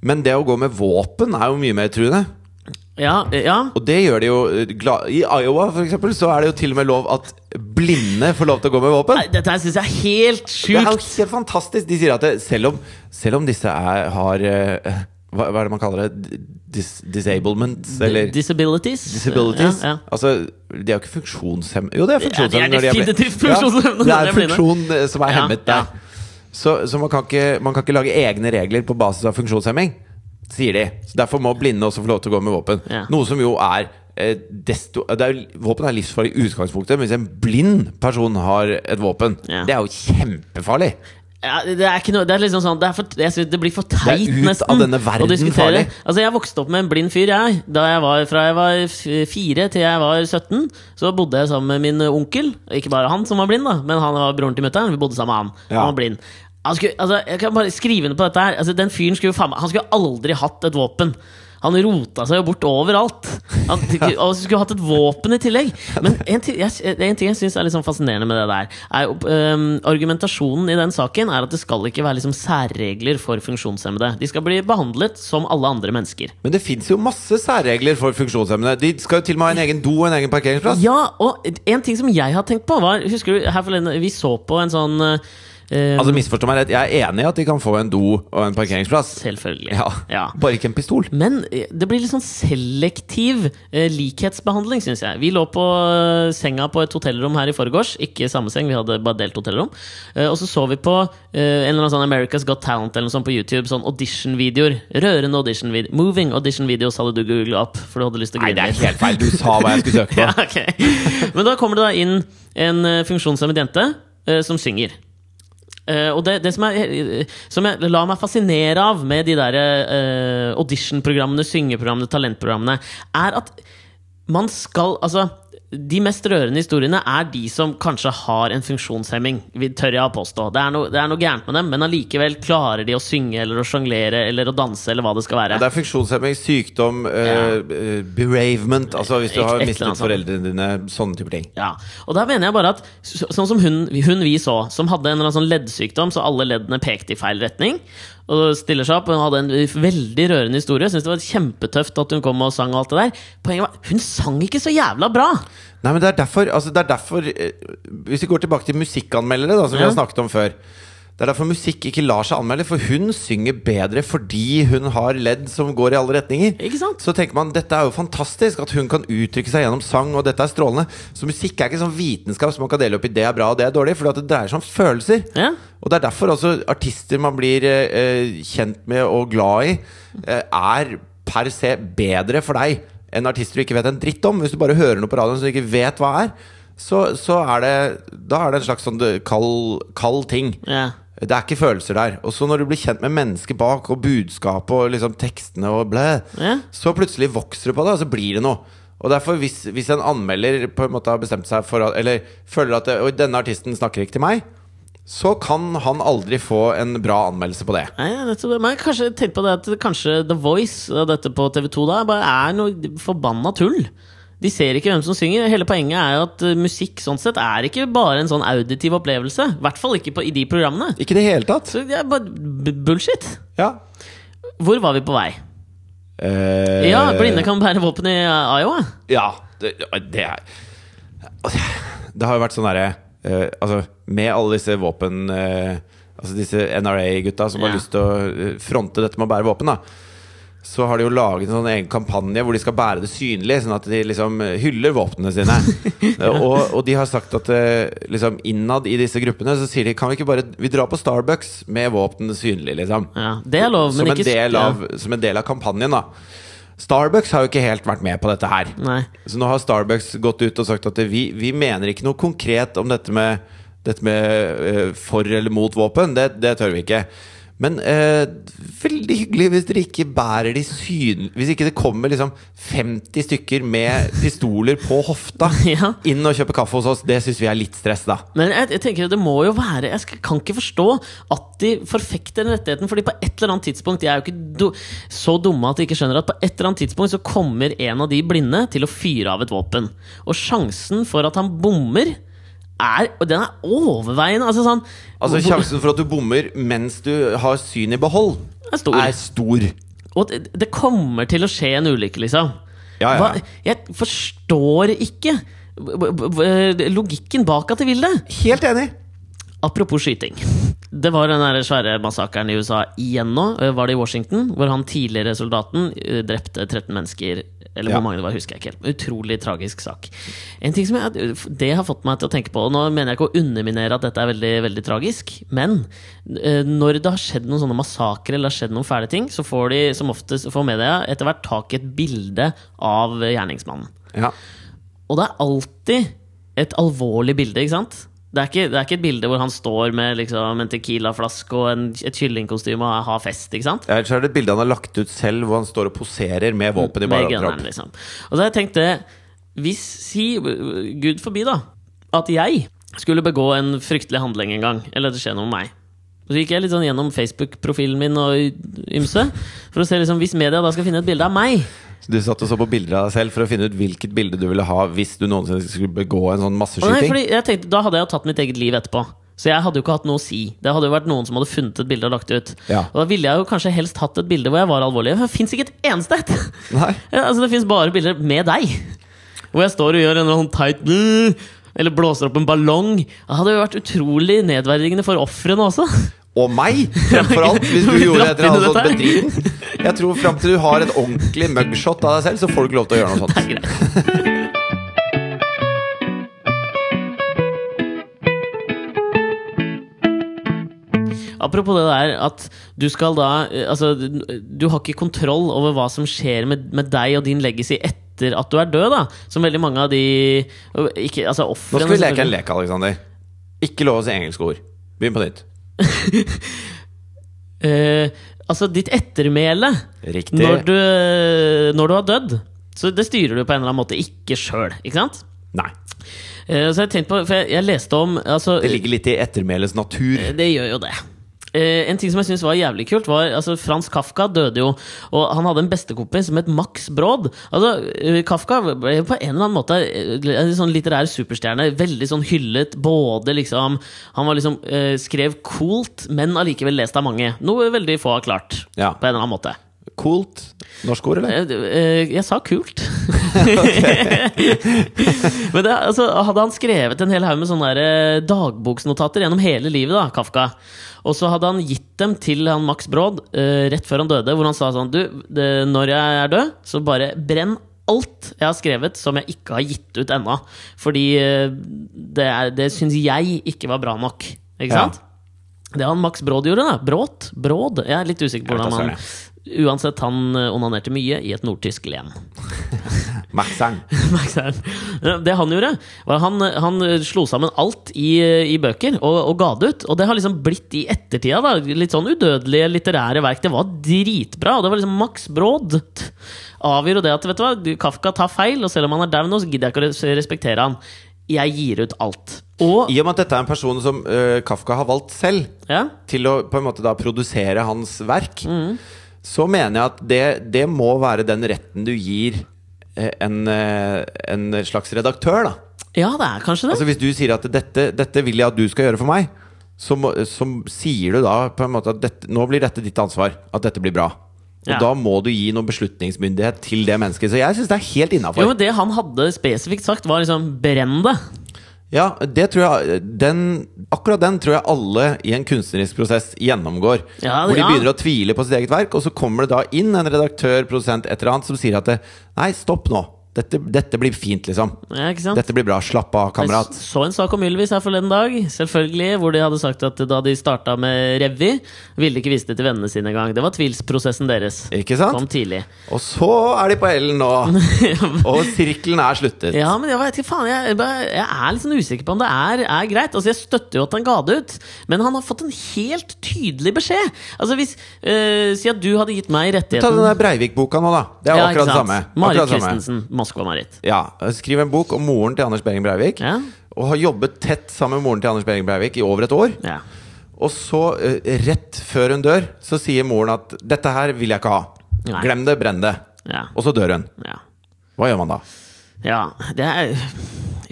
Men det å gå med våpen er jo mye mer truende. Ja, ja. Og det gjør de jo eh, gla I Iowa for eksempel, så er det jo til og med lov at blinde får lov til å gå med våpen. Nei, Dette her syns jeg er helt Det er jo sjukt. helt fantastisk. De sier at det, selv, om, selv om disse er, har eh, hva, hva er det man kaller det? Dis disablements? Eller Disabilities. disabilities? Ja, ja. Altså, de er jo ikke funksjonshemmede Jo, de er er- de er funksjonshemmede når de er definitivt blinde. funksjonshemmede Ja, når de det er er blinde. funksjon eh, som er Ja, hemmet ja. der. Så, så man, kan ikke, man kan ikke lage egne regler på basis av funksjonshemming, sier de. Så Derfor må blinde også få lov til å gå med våpen. Ja. Noe som jo er eh, Desto, det er, jo- våpen er livsfarlig i utgangspunktet, men hvis en blind person har et våpen, Ja. det er jo kjempefarlig. Ja, det er ikke noe Det er liksom sånn Det, er for, jeg synes det blir for teit, Det er ut nesten. av denne verden å diskutere. farlig. Altså, jeg vokste opp med en blind fyr, jeg. Da jeg var, fra jeg var f- fire til jeg var 17, så bodde jeg sammen med min onkel. Ikke bare han som var blind, da, men han var broren til mutter'n. Vi bodde sammen med han. Ja. Han var blind. Han skulle, altså, jeg kan bare skrive under på dette her. Altså, den fyren skulle jo faen meg Han skulle aldri hatt et våpen. Han rota seg jo bort overalt. Han og så skulle hatt et våpen i tillegg. Men en, ti- jeg, en ting jeg syns er litt sånn fascinerende med det der, er jo, øhm, argumentasjonen i den saken er at det skal ikke være liksom særregler for funksjonshemmede. De skal bli behandlet som alle andre mennesker. Men det fins jo masse særregler for funksjonshemmede. De skal jo til og med ha en egen do og en egen parkeringsplass. Ja, og en ting som jeg har tenkt på, var Husker du her forleden vi så på en sånn øh, Altså misforstå meg rett, Jeg er enig i at de kan få en do og en parkeringsplass. Selvfølgelig. Ja, Ja. Bare ikke en pistol. Men eh, det blir litt sånn selektiv eh, likhetsbehandling, syns jeg. Vi lå på eh, senga på et hotellrom her i forgårs. Ikke samme seng, vi hadde bare delt hotellrom. Eh, og så så vi på eh, en eller annen sånn America's Got Talent eller noe sånt på YouTube. Sånn auditionvideoer. Rørende auditionvideoer. Moving auditionvideos hadde du googla opp. For du hadde lyst til å Nei, det er grine helt litt. feil. Du sa hva jeg skulle søke på. Ja, ok. Men da kommer det da inn en eh, funksjonshemmet jente eh, som synger. Eh, og det, det som, jeg, som jeg lar meg fascinere av med de der eh, auditionprogrammene, syngeprogrammene, talentprogrammene, er at man skal Altså de mest rørende historiene er de som kanskje har en funksjonshemming. Vi tør jeg å påstå. Det er, noe- det er noe gærent med dem, men allikevel klarer de å synge eller å sjonglere eller å danse eller hva det skal være. Det er funksjonshemming, sykdom, eh, eh, beravement Altså hvis du Et- har et eller mistet annet sånt. foreldrene dine. Sånne typer ting. Ja, og der mener jeg bare at så- Sånn som hun, hun vi så, som hadde en eller annen sånn leddsykdom, så alle leddene pekte i feil retning. Og stiller seg opp, og Hun hadde en veldig rørende historie. Synes det var kjempetøft at hun kom og sang. og alt det der Poenget var, hun sang ikke så jævla bra! Nei, men det er derfor, altså, det er derfor eh, Hvis vi går tilbake til musikkanmeldere, da, som vi Ja. har snakket om før. Det er derfor musikk ikke lar seg anmelde, for hun synger bedre fordi hun har ledd som går i alle retninger. Ikke sant? Så tenker man dette er jo fantastisk, at hun kan uttrykke seg gjennom sang, og dette er strålende. Så musikk er ikke sånn vitenskap som man kan dele opp i det er bra og det er dårlig, for det dreier seg om følelser. Ja. Og det er derfor også artister man blir eh, eh, kjent med og glad i, eh, er per se bedre for deg enn artister du ikke vet en dritt om. Hvis du bare hører noe på radioen som du ikke vet hva er, så, så er det Da er det en slags sånn eh, kald, kald ting. Ja. Det er ikke følelser der. Og så når du blir kjent med mennesket bak, og budskapet og liksom tekstene og blæ, Ja. så plutselig vokser du på det, og så blir det noe. Og derfor, hvis, hvis en anmelder på en måte har bestemt seg for at Eller føler at det, «Oi, denne artisten snakker ikke til meg, så kan han aldri få en bra anmeldelse på det. Nei, jeg vet ikke det, men kanskje tenk på det at kanskje The Voice og dette på TV2 da bare er noe forbanna tull. De ser ikke hvem som synger. Hele poenget er jo at eh, musikk sånn sett er ikke bare en sånn auditiv opplevelse. I hvert fall ikke på, i de programmene. Ikke i det hele tatt. Så det er bare b- bullshit. Ja. Hvor var vi på vei? Eh, Ja, blinde kan bære våpen i eh, Iowa. Ja, det, det er Det har jo vært sånn derre eh, Altså, med alle disse våpen eh, Altså disse NRA-gutta som har Ja. lyst til å eh, fronte dette med å bære våpen, da. Så har de jo laget en sånn egen kampanje hvor de skal bære det synlig, sånn at de liksom eh, hyller våpnene sine. Eh, og, og de har sagt at eh, liksom innad i disse gruppene så sier de kan vi ikke bare Vi drar på Starbucks med våpnene synlig, liksom. Ja, det er lov, men som, en ikke s- del ja. av, som en del av kampanjen, da. Starbucks har jo ikke helt vært med på dette her. Nei. Så nå har Starbucks gått ut og sagt at vi, vi mener ikke noe konkret om dette med, dette med eh, for eller mot våpen. Det, det tør vi ikke. Men eh, veldig hyggelig hvis dere ikke bærer de syn... Hvis ikke det kommer liksom 50 stykker med pistoler på hofta Ja. inn og kjøper kaffe hos oss, det syns vi er litt stress, da. Men jeg, jeg tenker at det må jo være Jeg skal, kan ikke forstå at de forfekter den rettigheten, Fordi på et eller annet tidspunkt De er jo ikke do, så dumme at de ikke skjønner at på et eller annet tidspunkt så kommer en av de blinde til å fyre av et våpen. Og sjansen for at han bommer, er Og den er overveiende. Altså sånn Altså hvor- Sjansen for at du bommer mens du har synet i behold, Er stor. Er stor. Og det, det kommer til å skje en ulykke, liksom. Ja, ja, ja. jeg forstår ikke b- b- b- logikken bak at de vil det. Helt enig. Apropos skyting. Det var den der svære massakren i USA igjen nå. eh, Var det i Washington? Hvor han tidligere soldaten eh, drepte 13 mennesker. Eller Ja. hvor mange det var, husker jeg ikke helt. Utrolig tragisk sak. En ting som jeg, eh, Det har fått meg til å tenke på, og nå mener jeg ikke å underminere at dette er veldig veldig tragisk, men eh, når det har skjedd noen sånne massakrer eller det har skjedd noen fæle ting, så får de som oftest får media etter hvert tak i et bilde av eh, gjerningsmannen. Ja. Og det er alltid et alvorlig bilde, ikke sant? Det er ikke, det er ikke et bilde hvor han står med liksom, en Tequila-flaske og en, et kyllingkostyme og har fest, ikke sant? Ellers er det et bilde han har lagt ut selv, hvor han står og poserer med våpen i Med bar gunneren, overkropp. liksom. Og så har jeg tenkt det Hvis, si, gud forbi, da, at jeg skulle begå en fryktelig handling en gang, eller det skjer noe med meg. Så gikk jeg litt sånn gjennom Facebook-profilen min og ymse. For å se liksom, Hvis media da skal finne et bilde av meg Så Du satt og så på bilder av deg selv for å finne ut hvilket bilde du ville ha hvis du noensinne skulle begå en sånn Å Nei, masseskyting. fordi jeg tenkte, da hadde jeg jo tatt mitt eget liv etterpå. Så jeg hadde jo ikke hatt noe å si. Det hadde jo vært noen som hadde funnet et bilde og lagt det ut. Ja. Og da ville jeg jo kanskje helst hatt et bilde hvor jeg var alvorlig. For Det fins ikke et eneste et! Nei. Ja, altså, det fins bare bilder med deg. Hvor jeg står og gjør en eller annen teit Eller blåser opp en ballong. Det hadde jo vært utrolig nedverdigende for ofrene også. Og meg, fremfor alt, hvis du Vi gjorde dratt et eller annet sånt inn i bedriten. Jeg tror fram til du har et ordentlig mugshot av deg selv, så får du ikke lov til å gjøre noe Det sånt. er greit. Apropos det der at du skal da eh, Altså, du har ikke kontroll over hva som skjer med, med deg og din legacy etter at du er død, da. Som veldig mange av de ikke, altså Nå ofrene skal vi leke en selvfølgelig. lek, Aleksander. Ikke lov å si engelske ord. Begynn på nytt. Eh, altså, ditt ettermæle Riktig. når du, når du har dødd. Så det styrer du på en eller annen måte ikke sjøl, ikke sant? Nei. Eh, Så jeg tenkte på, for jeg, jeg leste om altså, Det ligger litt i ettermælets natur. Det gjør jo det. Eh, en ting som jeg synes var jævlig kult, var altså Frans Kafka døde jo, og han hadde en bestekompis som het Max Brod. Altså, eh, Kafka ble jo på en eller annen måte eh, en sånn litterær superstjerne. Veldig sånn hyllet. Både liksom Han var liksom eh, skrev coolt, men allikevel lest av mange. Noe veldig få har klart. Ja. På en eller annen måte. Coolt. Norsk ord, eller? Eh, eh, Jeg sa kult. Men det, altså, hadde han skrevet en hel haug med sånne der, eh, dagboksnotater gjennom hele livet, da, Kafka. Og så hadde han gitt dem til han Max Brod eh, rett før han døde, hvor han sa sånn Du, det, når jeg er død, så bare brenn alt jeg har skrevet som jeg ikke har gitt ut ennå. Fordi eh, det, er- det syns jeg ikke var bra nok. Ikke Ja. sant? Det han Max Brod gjorde, da. Bråt? Bråd? Jeg er litt usikker på Jeg vet hvordan han da Uansett, han eh, onanerte mye i et nordtysk len. Maxang. Max Herren. Det han gjorde, var han, eh, han slo sammen alt i, eh, i bøker og, og ga det ut. Og det har liksom blitt i ettertida. Da. Litt sånn udødelige litterære verk. Det var dritbra. Og det var liksom Max Brod avgjør jo det at vet du hva, du- Kafka tar feil, og selv om han er daud nå, så gidder jeg ikke å res- respektere han. Jeg gir ut alt. Og I og med at dette er en person som eh, Kafka har valgt selv ja, til å på en måte da produsere hans verk, så mener jeg at det, det må være den retten du gir eh, en, eh, en slags redaktør, da. ja, det er kanskje det. Altså Hvis du sier at dette, 'dette vil jeg at du skal gjøre for meg', så, må, så sier du da på en måte at dette, 'nå blir dette ditt ansvar', at dette blir bra. Og Ja. da må du gi noe beslutningsmyndighet til det mennesket. Så jeg syns det er helt Jo, innafor. men Det han hadde spesifikt sagt, var liksom 'brenn det'. Ja, det tror jeg den, Akkurat den tror jeg alle i en kunstnerisk prosess gjennomgår. Ja, hvor de ja. begynner å tvile på sitt eget verk, og så kommer det da inn en redaktør, produsent, et eller annet som sier at det, 'nei, stopp nå'. Dette, dette blir fint, liksom. Ja, ikke sant? Dette blir bra. Slapp av, kamerat. Jeg så en sak om Ylvis her forleden dag, selvfølgelig, hvor de hadde sagt at da de starta med revy, ville de ikke vise det til vennene sine engang. Det var tvilsprosessen deres. Ikke sant? Kom tidlig. Og så er de på L-en nå! Og sirkelen er sluttet. Ja, men jeg vet ikke, faen, jeg, bare- jeg er litt sånn usikker på om det er, er greit. Altså, Jeg støtter jo at han ga det ut, men han har fått en helt tydelig beskjed. Altså, hvis eh, Si at du hadde gitt meg Ta den rettigheten der Breivik-boka nå, da. Det er Ja, ikke akkurat det sant? samme. Marit Akkurat det samme. Christensen, Moskva-Marit. Ja, Skriv en bok om moren til Anders Behring Breivik. Ja. Og har jobbet tett sammen med moren til Anders Behring Breivik i over et år. Ja. Og så, eh, rett før hun dør, så sier moren at 'dette her vil jeg ikke ha'. Nei. Glem det, brenn det. Ja. Og så dør hun. ja. Hva gjør man da? Ja, det er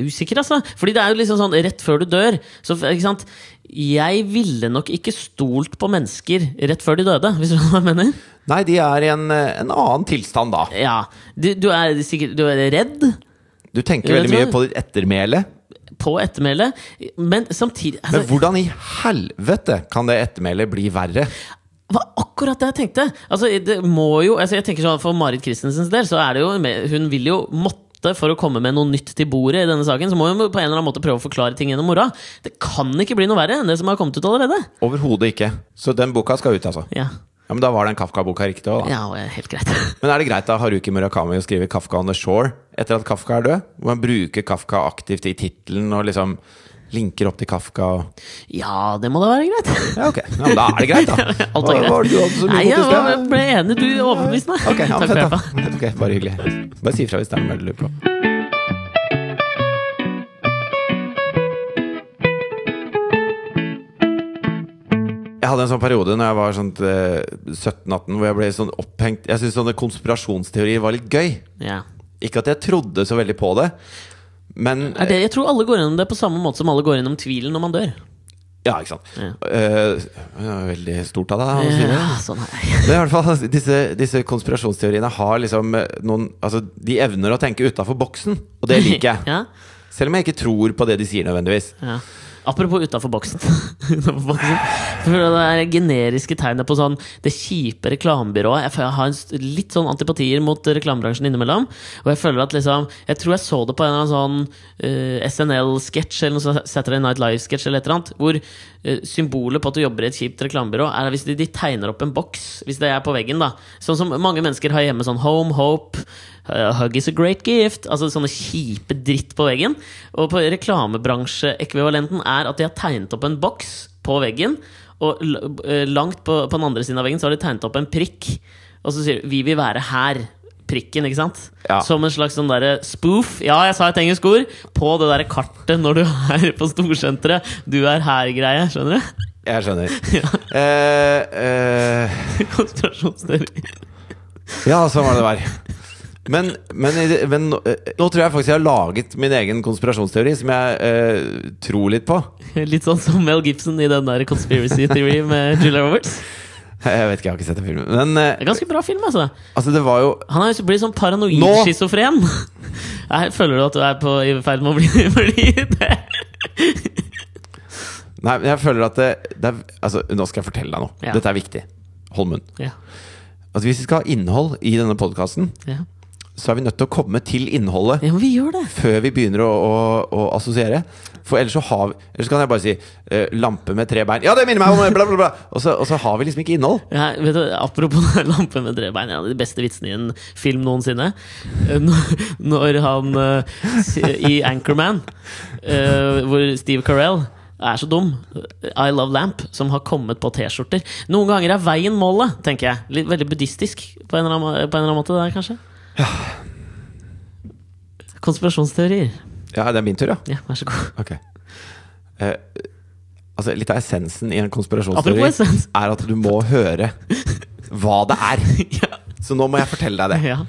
usikker, altså. Fordi det er jo liksom sånn rett før du dør. Så, ikke sant? Jeg ville nok ikke stolt på mennesker rett før de døde, hvis du skjønner hva jeg mener? Nei, de er i en, eh, en annen tilstand da. Ja. Du, du er sikkert du er redd Du tenker Jeg veldig tror- mye på ditt ettermæle. på ettermælet, men samtidig altså, Men hvordan i helvete kan det ettermælet bli verre? var akkurat det jeg tenkte. Altså, det må jo, altså, jeg tenker sånn For Marit Christensens del så er det jo med- Hun vil jo måtte for å komme med noe nytt til bordet i denne saken, så må hun på en eller annen måte prøve å forklare ting gjennom mora. Det kan ikke bli noe verre enn det som har kommet ut allerede. Overhodet ikke. Så den boka skal ut, altså. Ja, Ja, men Da var den Kafka-boka riktig òg, da. ja og, eh, helt greit. Men er det greit av Haruki Murakami å skrive 'Kafka on the Shore' etter at Kafka er død? Hvor han bruker Kafka aktivt i tittelen og liksom linker opp til Kafka og Ja, det må da være greit. Ja, ok. Ja, men da er det greit, da. Alt er Hva var det du hadde så mye Nei, jeg fokus på? var- ble enig. Du overbeviste meg. Ok, ja, men Takk for fett, da. hjelpa. Ok, bare hyggelig. Bare si ifra hvis det er noe mer du lurer på. Jeg hadde en sånn periode når jeg var sånn eh, 17-18 hvor jeg ble sånn opphengt Jeg syntes sånne konspirasjonsteorier var litt gøy. Ja. Ikke at jeg trodde så veldig på det, men Er det, jeg tror alle går gjennom det på samme måte som alle går gjennom tvilen når man dør. Ja, ikke sant. Ja. Eh, det var veldig stort av deg å si det. Ja, sånn er det. Men i hvert fall, altså, disse, disse konspirasjonsteoriene har liksom eh, noen Altså, de evner å tenke utafor boksen, og det liker jeg. Ja, Selv om jeg ikke tror på det de sier nødvendigvis. ja. Apropos utafor boksen. Utenfor boksen. For Det er generiske tegnet på sånn det kjipe reklamebyrået. Jeg, føler jeg har en st- litt sånn antipatier mot reklamebransjen innimellom. Og jeg føler at liksom Jeg tror jeg så det på en eller annen sånn SNL-sketsj eller noe sånt, Saturday Night Live-sketsj eller et eller annet, hvor eh, symbolet på at du jobber i et kjipt reklamebyrå, er hvis de, de tegner opp en boks, hvis det er på veggen, da. Sånn som mange mennesker har hjemme, sånn Home, Hope, eh, Hug is a great gift, altså sånne kjipe dritt på veggen. Og på reklamebransjeekvivalenten er at de har tegnet opp en boks på veggen, og l- eh, langt på, på den andre siden av veggen så har de tegnet opp en prikk, og så sier de 'Vi vil være her'. prikken, ikke sant? Ja. Som en slags sånn derre spoof, ja, jeg sa et engelsk ord, på det derre kartet når du er på storsenteret. Du er her-greie, skjønner du? Jeg skjønner. Eh, eh, Konspirasjonsteori. ja, sånn var det der. Men, men, i det- men nå eh, nå tror jeg faktisk jeg har laget min egen konspirasjonsteori, som jeg eh, tror litt på. Litt sånn som Mel Gibson i den der conspiracy theory med Julia Roberts. Jeg vet ikke, jeg har ikke sett den filmen. Men Det eh, er ganske bra film, altså. altså, det var jo Han er, blir sånn paranoid Nå! schizofren. Jeg Føler du at du er på, i ferd med å bli, bli det? Nei, men jeg føler at det, det er, altså, Nå skal jeg fortelle deg noe. Ja. Dette er viktig. Hold munn. Ja. Altså, hvis vi skal ha innhold i denne podkasten, Ja. så er vi nødt til å komme til innholdet ja, men vi gjør det. før vi begynner å, å, å assosiere. For ellers så har vi Ellers kan jeg bare si eh, 'lampe med tre bein'. Ja, det minner meg om bla, bla, bla! Og så, og så har vi liksom ikke innhold. Ja, vet du, apropos lampe med drebein, en av de beste vitsene i en film noensinne. Eh, Når, når han eh, s- i Anchorman, eh, hvor Steve Carell er så dum. eh, I Love Lamp, som har kommet på T-skjorter. Noen ganger er veien målet, tenker jeg. Litt veldig buddhistisk på en eller annen, på en eller annen måte der, kanskje. Konspirasjonsteorier. Ja, det er min tur, ja. Ja, vær så god. Ok. Eh, altså, litt av essensen i en konspirasjonsteori Apropos essens. er at du må høre hva det er. Ja. Så nå må jeg fortelle deg det. Ja.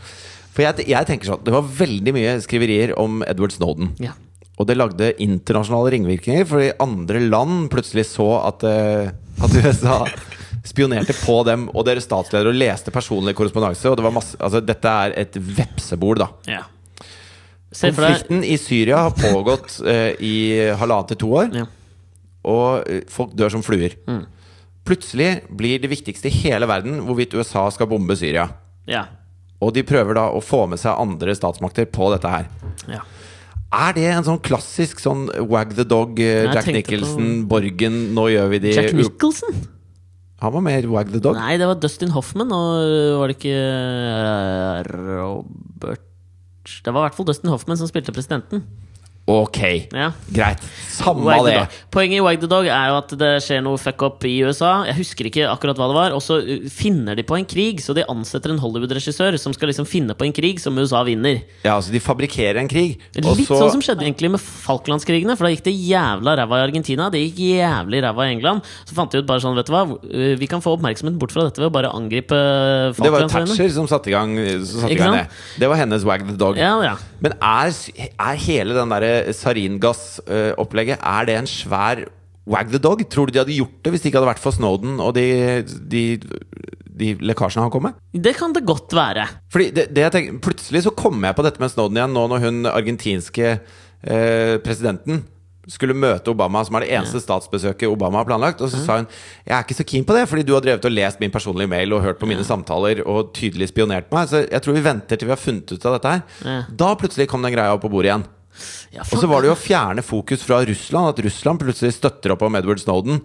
For jeg, jeg tenker sånn Det var veldig mye skriverier om Edward Snowden. ja. Og det lagde internasjonale ringvirkninger, fordi andre land plutselig så at, eh, at USA spionerte på dem og deres statsledere og leste personlig korrespondanse. Og det var masse, altså, dette er et vepsebol, da. ja. Se for deg Konflikten i Syria har pågått eh, i halvannet til to år, ja. og eh, folk dør som fluer. Mm. Plutselig blir det viktigste i hele verden hvorvidt USA skal bombe Syria. Ja. Og de prøver da å få med seg andre statsmakter på dette her. ja. Er det en sånn klassisk sånn Wag the Dog, eh, Jeg Jack tenkte Nicholson, Borgen, nå gjør vi de Jack Nicholson? Han var mer Wag the Dog. Nei, det var Dustin Hoffman, og øh, var det ikke eh, Robert Det var i hvert fall Dustin Hoffman som spilte presidenten. Ok, Ja. greit. Samme Wag the det. Dog. Poenget i Wag the Dog er jo at det skjer noe fuck up i USA. Jeg husker ikke akkurat hva det var. Og så uh, finner de på en krig, så de ansetter en Hollywood-regissør som skal liksom finne på en krig som USA vinner. Ja, altså De fabrikkerer en krig. og Litt så- sånn som skjedde egentlig med Falklandskrigene. For da gikk det jævla ræva i Argentina, det gikk jævlig ræva i England. Så fant de ut bare sånn, vet du hva, eh, vi kan få oppmerksomhet bort fra dette ved å bare angripe eh, det var jo Falklandsøyene. Thatcher som satte i gang, som satte i Ikke gang det. sant? Det var hennes Wag the Dog. Ja, ja. Men er, er hele den eh, derre saringass-opplegget eh, Er det en svær Wag the Dog? Tror du de hadde gjort det hvis det ikke hadde vært for Snowden og de, de, de lekkasjene han kom med? Det kan det godt være. Fordi det, det jeg tenker, Plutselig så kom jeg på dette med Snowden igjen, nå når hun argentinske eh, presidenten skulle møte Obama, som er det eneste statsbesøket Obama har planlagt. Og så sa hun jeg er ikke så keen på det, fordi du har drevet og lest min personlige mail og hørt på mine samtaler og tydelig spionert på meg, så jeg tror vi venter til vi har funnet ut av dette her. Ja. Da plutselig kom den greia opp på bordet igjen. Ja, Og faen. så var det jo å fjerne fokus fra Russland, at Russland plutselig støtter opp om Edward Snowden.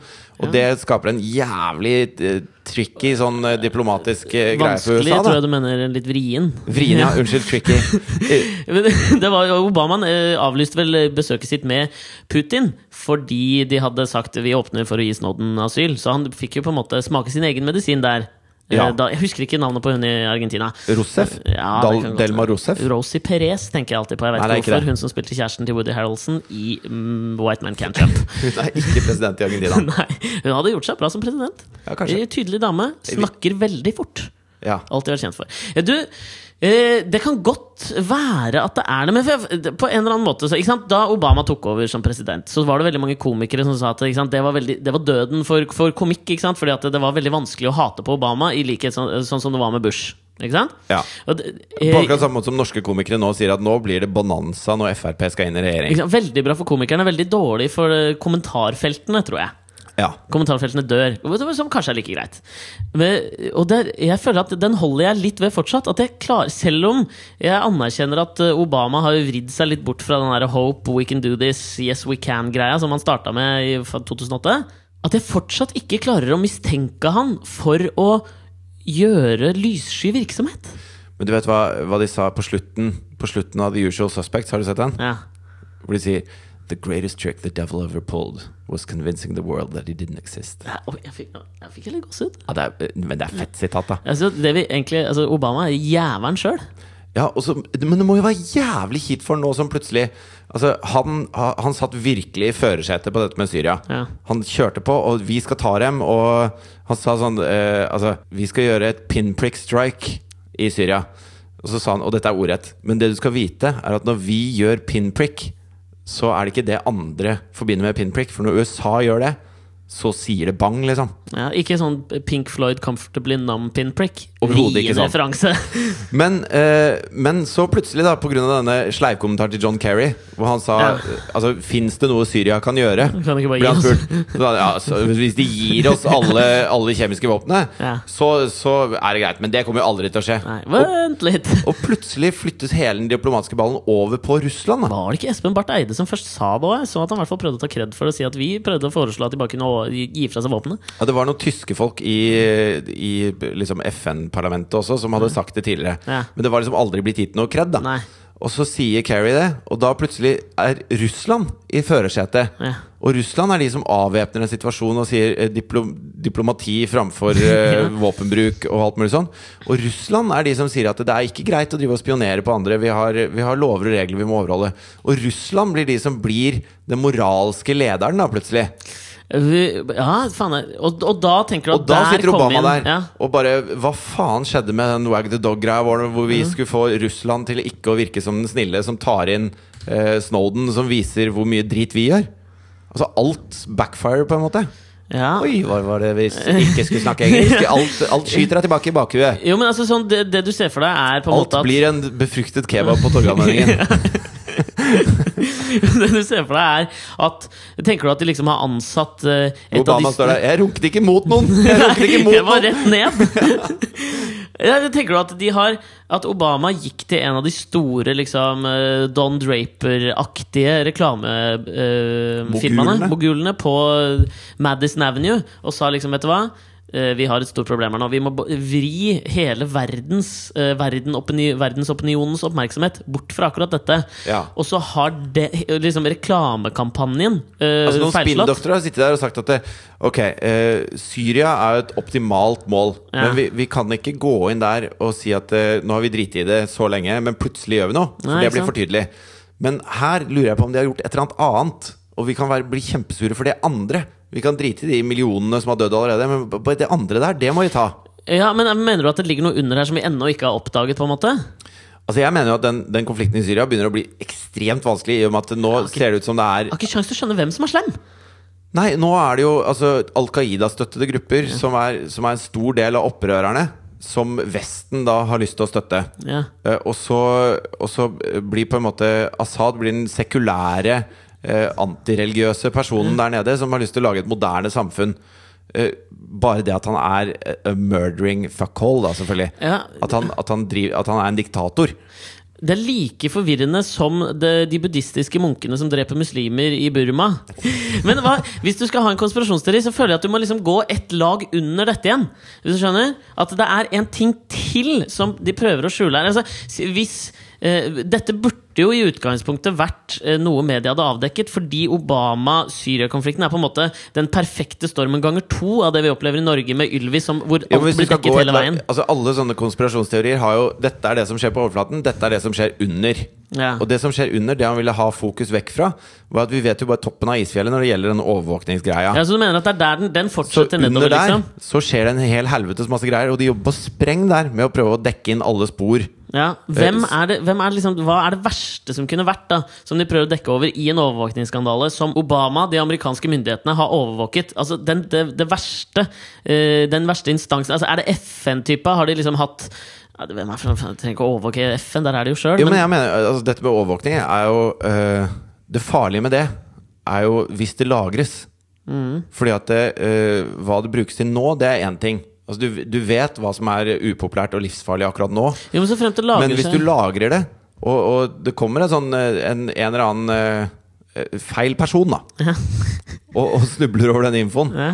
Og det skaper en jævlig eh, tricky sånn eh, diplomatisk eh, greie for Vanskelig, USA. tror da jeg du mener litt vrien. Vrien, ja. Unnskyld, tricky. Eh, Men det var jo Obama eh, avlyste vel besøket sitt med Putin fordi de hadde sagt vi åpner for å gi Snowden asyl. Så han fikk jo på en måte smake sin egen medisin der. Eh, Ja. Eh, Da, jeg husker ikke navnet på hun i Argentina. Rousseff? Ja, det kan Dal godt Delma være. Rousseff? Rosie Perez tenker jeg alltid på. Jeg vet Nei, det er ikke ikke hvorfor det. Hun som spilte kjæresten til Woody Harroldson i mm, White Man Can't Jump. Hun er ikke president i Argentina. Nei, hun hadde gjort seg bra som president. Ja, kanskje. Tydelig dame. Snakker veldig fort. Ja. Alltid vært kjent for. Eh, Du, eh, det kan godt være at det er det, men for jeg- det- på en eller annen måte så, ikke sant? Da Obama tok over som president, så var det veldig mange komikere som sa at ikke sant, det, var veldig, det var døden for, for komikk. Ikke sant? Fordi at det, det var veldig vanskelig å hate på Obama, i likhet sånn, sånn som det var med Bush. Ikke sant? Ja. Og det- eh, På akkurat samme måte som norske komikere nå sier at nå blir det bonanza når Frp skal inn i ikke regjering. sant? Veldig bra for komikerne, veldig dårlig for eh, kommentarfeltene, tror jeg. Ja. Kommentarfeltene dør, som kanskje er like greit. Men, og der, jeg føler at Den holder jeg litt ved fortsatt. At jeg klar, selv om jeg anerkjenner at eh, Obama har jo vridd seg litt bort fra den der 'hope we can do this, yes we can'-greia som han starta med i fra 2008, at jeg fortsatt ikke klarer å mistenke han for å gjøre lyssky virksomhet. Men du vet hva, hva de sa på slutten På slutten av The Usual Suspects? Har du sett den? Ja. Hvor de sier The greatest trick the devil ever pulled was convincing the world that he didn't exist. Nei, oi, Jeg fikk, jeg fikk litt gåsehud. Ja, det er, men det er fett sitat, da. Altså, det vi egentlig, altså, Obama er jævelen sjøl. Ja, og så- men det må jo være jævlig kjipt for han nå som plutselig Altså, han, han satt virkelig i førersetet på dette med Syria. Ja. Han kjørte på, og vi skal ta dem, og han sa sånn eh, Altså, vi skal gjøre et pinprick strike i Syria. Og så sa han, og dette er ordrett, men det du skal vite, er at når vi gjør pinprick, så er det ikke det andre forbinder med pinprick, for når USA gjør det, så sier det bang, liksom. Ja, ikke sånn Pink Floyd comfortably numb pinprick. Overhodet ikke Vrien sånn. referanse. Men, eh, men så plutselig, da, pga. denne sleivkommentaren til John Kerry, hvor han sa Ja. altså, Fins det noe Syria kan gjøre? Kan ikke Ble bare gi han oss. spurt. Så sa han, Ja, så hvis de gir oss alle, alle kjemiske våpnene, Ja. så, så er det greit. Men det kommer jo aldri til å skje. Nei, Og, vent litt. og plutselig flyttes hele den diplomatiske ballen over på Russland. Da. Var det ikke Espen Barth Eide som først sa det òg? Så at han i hvert fall prøvde å ta kred for å si at vi prøvde å foreslå at de bare kunne å- gi fra seg våpnene. Ja, det var noen tyske folk i, i liksom FN-parlamentet også som hadde sagt det tidligere. Ja. Men det var liksom aldri blitt gitt noe kred. da. Nei. Og så sier Kerry det, og da plutselig er Russland i førersetet. Ja. Og Russland er de som avvæpner en situasjon og sier eh, diplo diplomati framfor eh, våpenbruk og alt mulig sånn. Og Russland er de som sier at det er ikke greit å drive og spionere på andre. Vi har, vi har lover og regler vi må overholde. Og Russland blir de som blir den moralske lederen, da, plutselig. Vi, ja, faen og, og da tenker du at Og da der sitter kom Obama inn, der Ja. og bare Hva faen skjedde med den Wag the Dog-greia vår, hvor vi Mm. skulle få Russland til ikke å virke som den snille, som tar inn eh, Snowden, som viser hvor mye drit vi gjør? Altså alt backfire, på en måte. Ja. Oi, hva var det vi s- ikke skulle snakke engelsk? Alt, alt skyter deg tilbake i bakhuet. Jo, men altså sånn, det, det du ser for deg, er på en Alt måte at blir en befruktet kebab på Torgallmenningen. Det du ser for deg, er at Tenker du at de liksom har ansatt eh, et av Obama de står der 'Jeg runket ikke mot noen!' Jeg runket ikke Nei, mot jeg var noen rett ned. Ja, tenker du at, de har, at Obama gikk til en av de store liksom, eh, Don Draper-aktige reklamefirmaene, Mogulene. mogulene, på Madison Avenue og sa liksom, vet du hva? Eh, Vi har et stort problem her nå. Vi må bo- vri hele verdens, eh, verden opini, verdensopinionens oppmerksomhet bort fra akkurat dette. Ja. Og så har det, liksom reklamekampanjen eh, Altså Noen feilslått. spinndoktorer har sittet der og sagt at det, Ok, eh, Syria er jo et optimalt mål, Ja. men vi, vi kan ikke gå inn der og si at eh, nå har vi driti i det så lenge, men plutselig gjør vi noe. For Nei, det ikke blir sant? for tydelig. Men her lurer jeg på om de har gjort et eller annet annet. Og vi kan være, bli kjempesure for det andre. Vi kan drite i de millionene som har dødd allerede, men b- bare det andre der, det må vi ta. Ja, men Mener du at det ligger noe under her som vi ennå ikke har oppdaget? på en måte? Altså Jeg mener jo at den, den konflikten i Syria begynner å bli ekstremt vanskelig, i og med at nå ser det ut som det er Jeg har ikke sjans til å skjønne hvem som er slem! Nei, nå er det jo altså, Al Qaida-støttede grupper, som, er, som er en stor del av opprørerne, som Vesten da har lyst til å støtte. Ja. Eh, og, så, og så blir på en måte Assad blir den sekulære, eh, antireligiøse personen der nede som har lyst til å lage et moderne samfunn. Eh, bare det at han er a murdering fuckhole, da, selvfølgelig. Ja. At, han, at, han driver, at han er en diktator. Det er like forvirrende som det, de buddhistiske munkene som dreper muslimer i Burma. Men hva, hvis du skal ha en konspirasjonsteori, så føler jeg at du må liksom gå et lag under dette igjen. Hvis du skjønner? At det er en ting til som de prøver å skjule her. Altså, s- hvis, eh, dette burde jo i utgangspunktet vært eh, noe media hadde avdekket, fordi Obama-Syria-konflikten er på en måte den perfekte stormen ganger to av det vi opplever i Norge med Ylvis, som, hvor Jo, alt men hvis du blir skal gå dekket et hele lag- veien. altså Alle sånne konspirasjonsteorier har jo Dette er det som skjer på overflaten, dette er det som skjer under. Ja. Og det som skjer under, det han ville ha fokus vekk fra, var at vi vet jo bare toppen av isfjellet når det gjelder den overvåkningsgreia. Ja, så du mener at det er der den, den Så fortsetter under nedover, der liksom? så skjer det en hel helvetes masse greier, og de jobber på spreng der med å prøve å dekke inn alle spor. Ja, Eh, hvem er det, hvem er det liksom, Hva er det verste som kunne vært, da? Som de prøver å dekke over i en overvåkningsskandale som Obama, de amerikanske myndighetene, har overvåket? Altså, den, det, det verste eh, Den verste instansen altså, Er det FN-type? Har de liksom hatt ja, det- Hvem er for, jeg trenger ikke å overvåke FN, der er de jo sjøl. Jo, men jeg mener, altså, dette med overvåkning er jo øh, Det farlige med det er jo hvis det lagres. Fordi at det, øh, hva det brukes til nå, det er én ting. Altså, du, du vet hva som er upopulært og livsfarlig akkurat nå. jo, men så frem til Men lager hvis seg- du lagrer det, og, og det kommer en, sånn, eh, en, en eller annen eh, eh, feil person, da, og, og snubler over den infoen, Ja.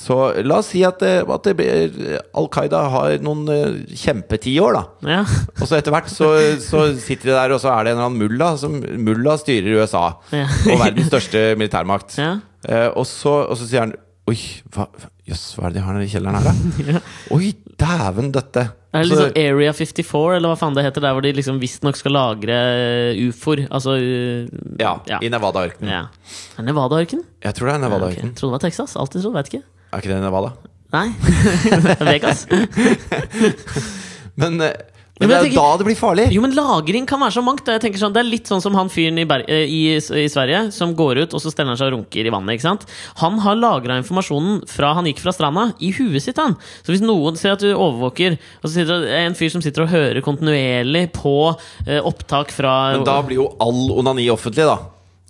Så la oss si at, eh, at det blir, Al Qaida har noen eh, kjempetiår, da. Ja. Og så etter hvert så, så sitter de der, og så er det en eller annen mulla som Mulla styrer USA. Ja. Og verdens største militærmakt. Ja. Eh, og, så, og så sier han Oi, hva, jøss, hva er det de har nede i kjelleren her, da? Oi, dæven døtte! Er det Så- liksom Area 54, eller hva faen det heter, der hvor de liksom visstnok skal lagre ufoer? Altså uh, ja, ja. i Nevada-ørkenen. ja. Er det Nevada-ørken? Jeg tror det er Ja, ok. Nevada-ørkenen. Trodde det var Texas. Alltid trodd, veit ikke. Er ikke det Nevada? Nei. Vegas. Men, eh, men Men det er jeg jo da det blir farlig! Jo, men lagring kan være så mangt. da. Jeg tenker sånn, det er litt sånn som han fyren i, Ber- eh, i, S- i Sverige som går ut og så steller han seg og runker i vannet. ikke sant? Han har lagra informasjonen fra han gikk fra stranda, i huet sitt. han. Så hvis noen ser at du overvåker, og så sitter det en fyr som sitter og hører kontinuerlig på eh, opptak fra Men da blir jo all onani offentlig, da.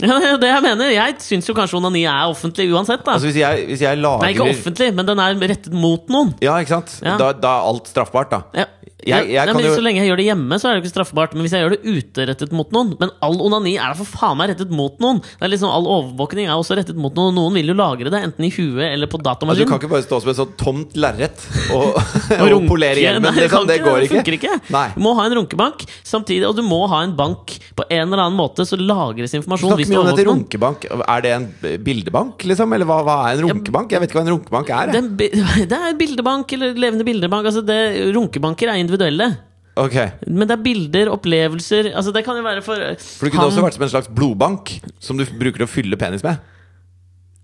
Ja, det er jo det jeg mener. Jeg syns jo kanskje onani er offentlig uansett. da. Altså hvis jeg, hvis jeg lager Nei, ikke offentlig, men den er rettet mot noen. Ja, ikke sant? Ja. Da, da er alt straffbart, da. Ja. Jeg- jeg Nei, kan men jo- Så lenge jeg gjør det hjemme, så er det jo ikke straffbart. Men hvis jeg gjør det ute rettet mot noen Men all onani er da for faen meg rettet mot noen! Det er liksom All overvåkning er også rettet mot noen. Noen vil jo lagre det, enten i huet eller på Men Altså, du datamaskin. kan ikke bare stå som et sånt tomt lerret og, Og og runke. polere hjelmen. Nei, du Liksom. kan Det går det ikke. funker ikke. Nei. Du må ha en runkebank, samtidig, og du må ha en bank på en eller annen måte, så lagres informasjon. Snakk Hvis mye du om dette overvåker noen. runkebank. Er det en bildebank, liksom? Eller hva, hva er en runkebank? Jeg vet ikke hva en runkebank er. jeg. Den bi- Det er bildebank eller levende bildebank. Altså det, runkebanker er individuelle. Ok, Men det er bilder, opplevelser altså Det kan jo være for For det kunne også vært som en slags blodbank, som du bruker å fylle penis med.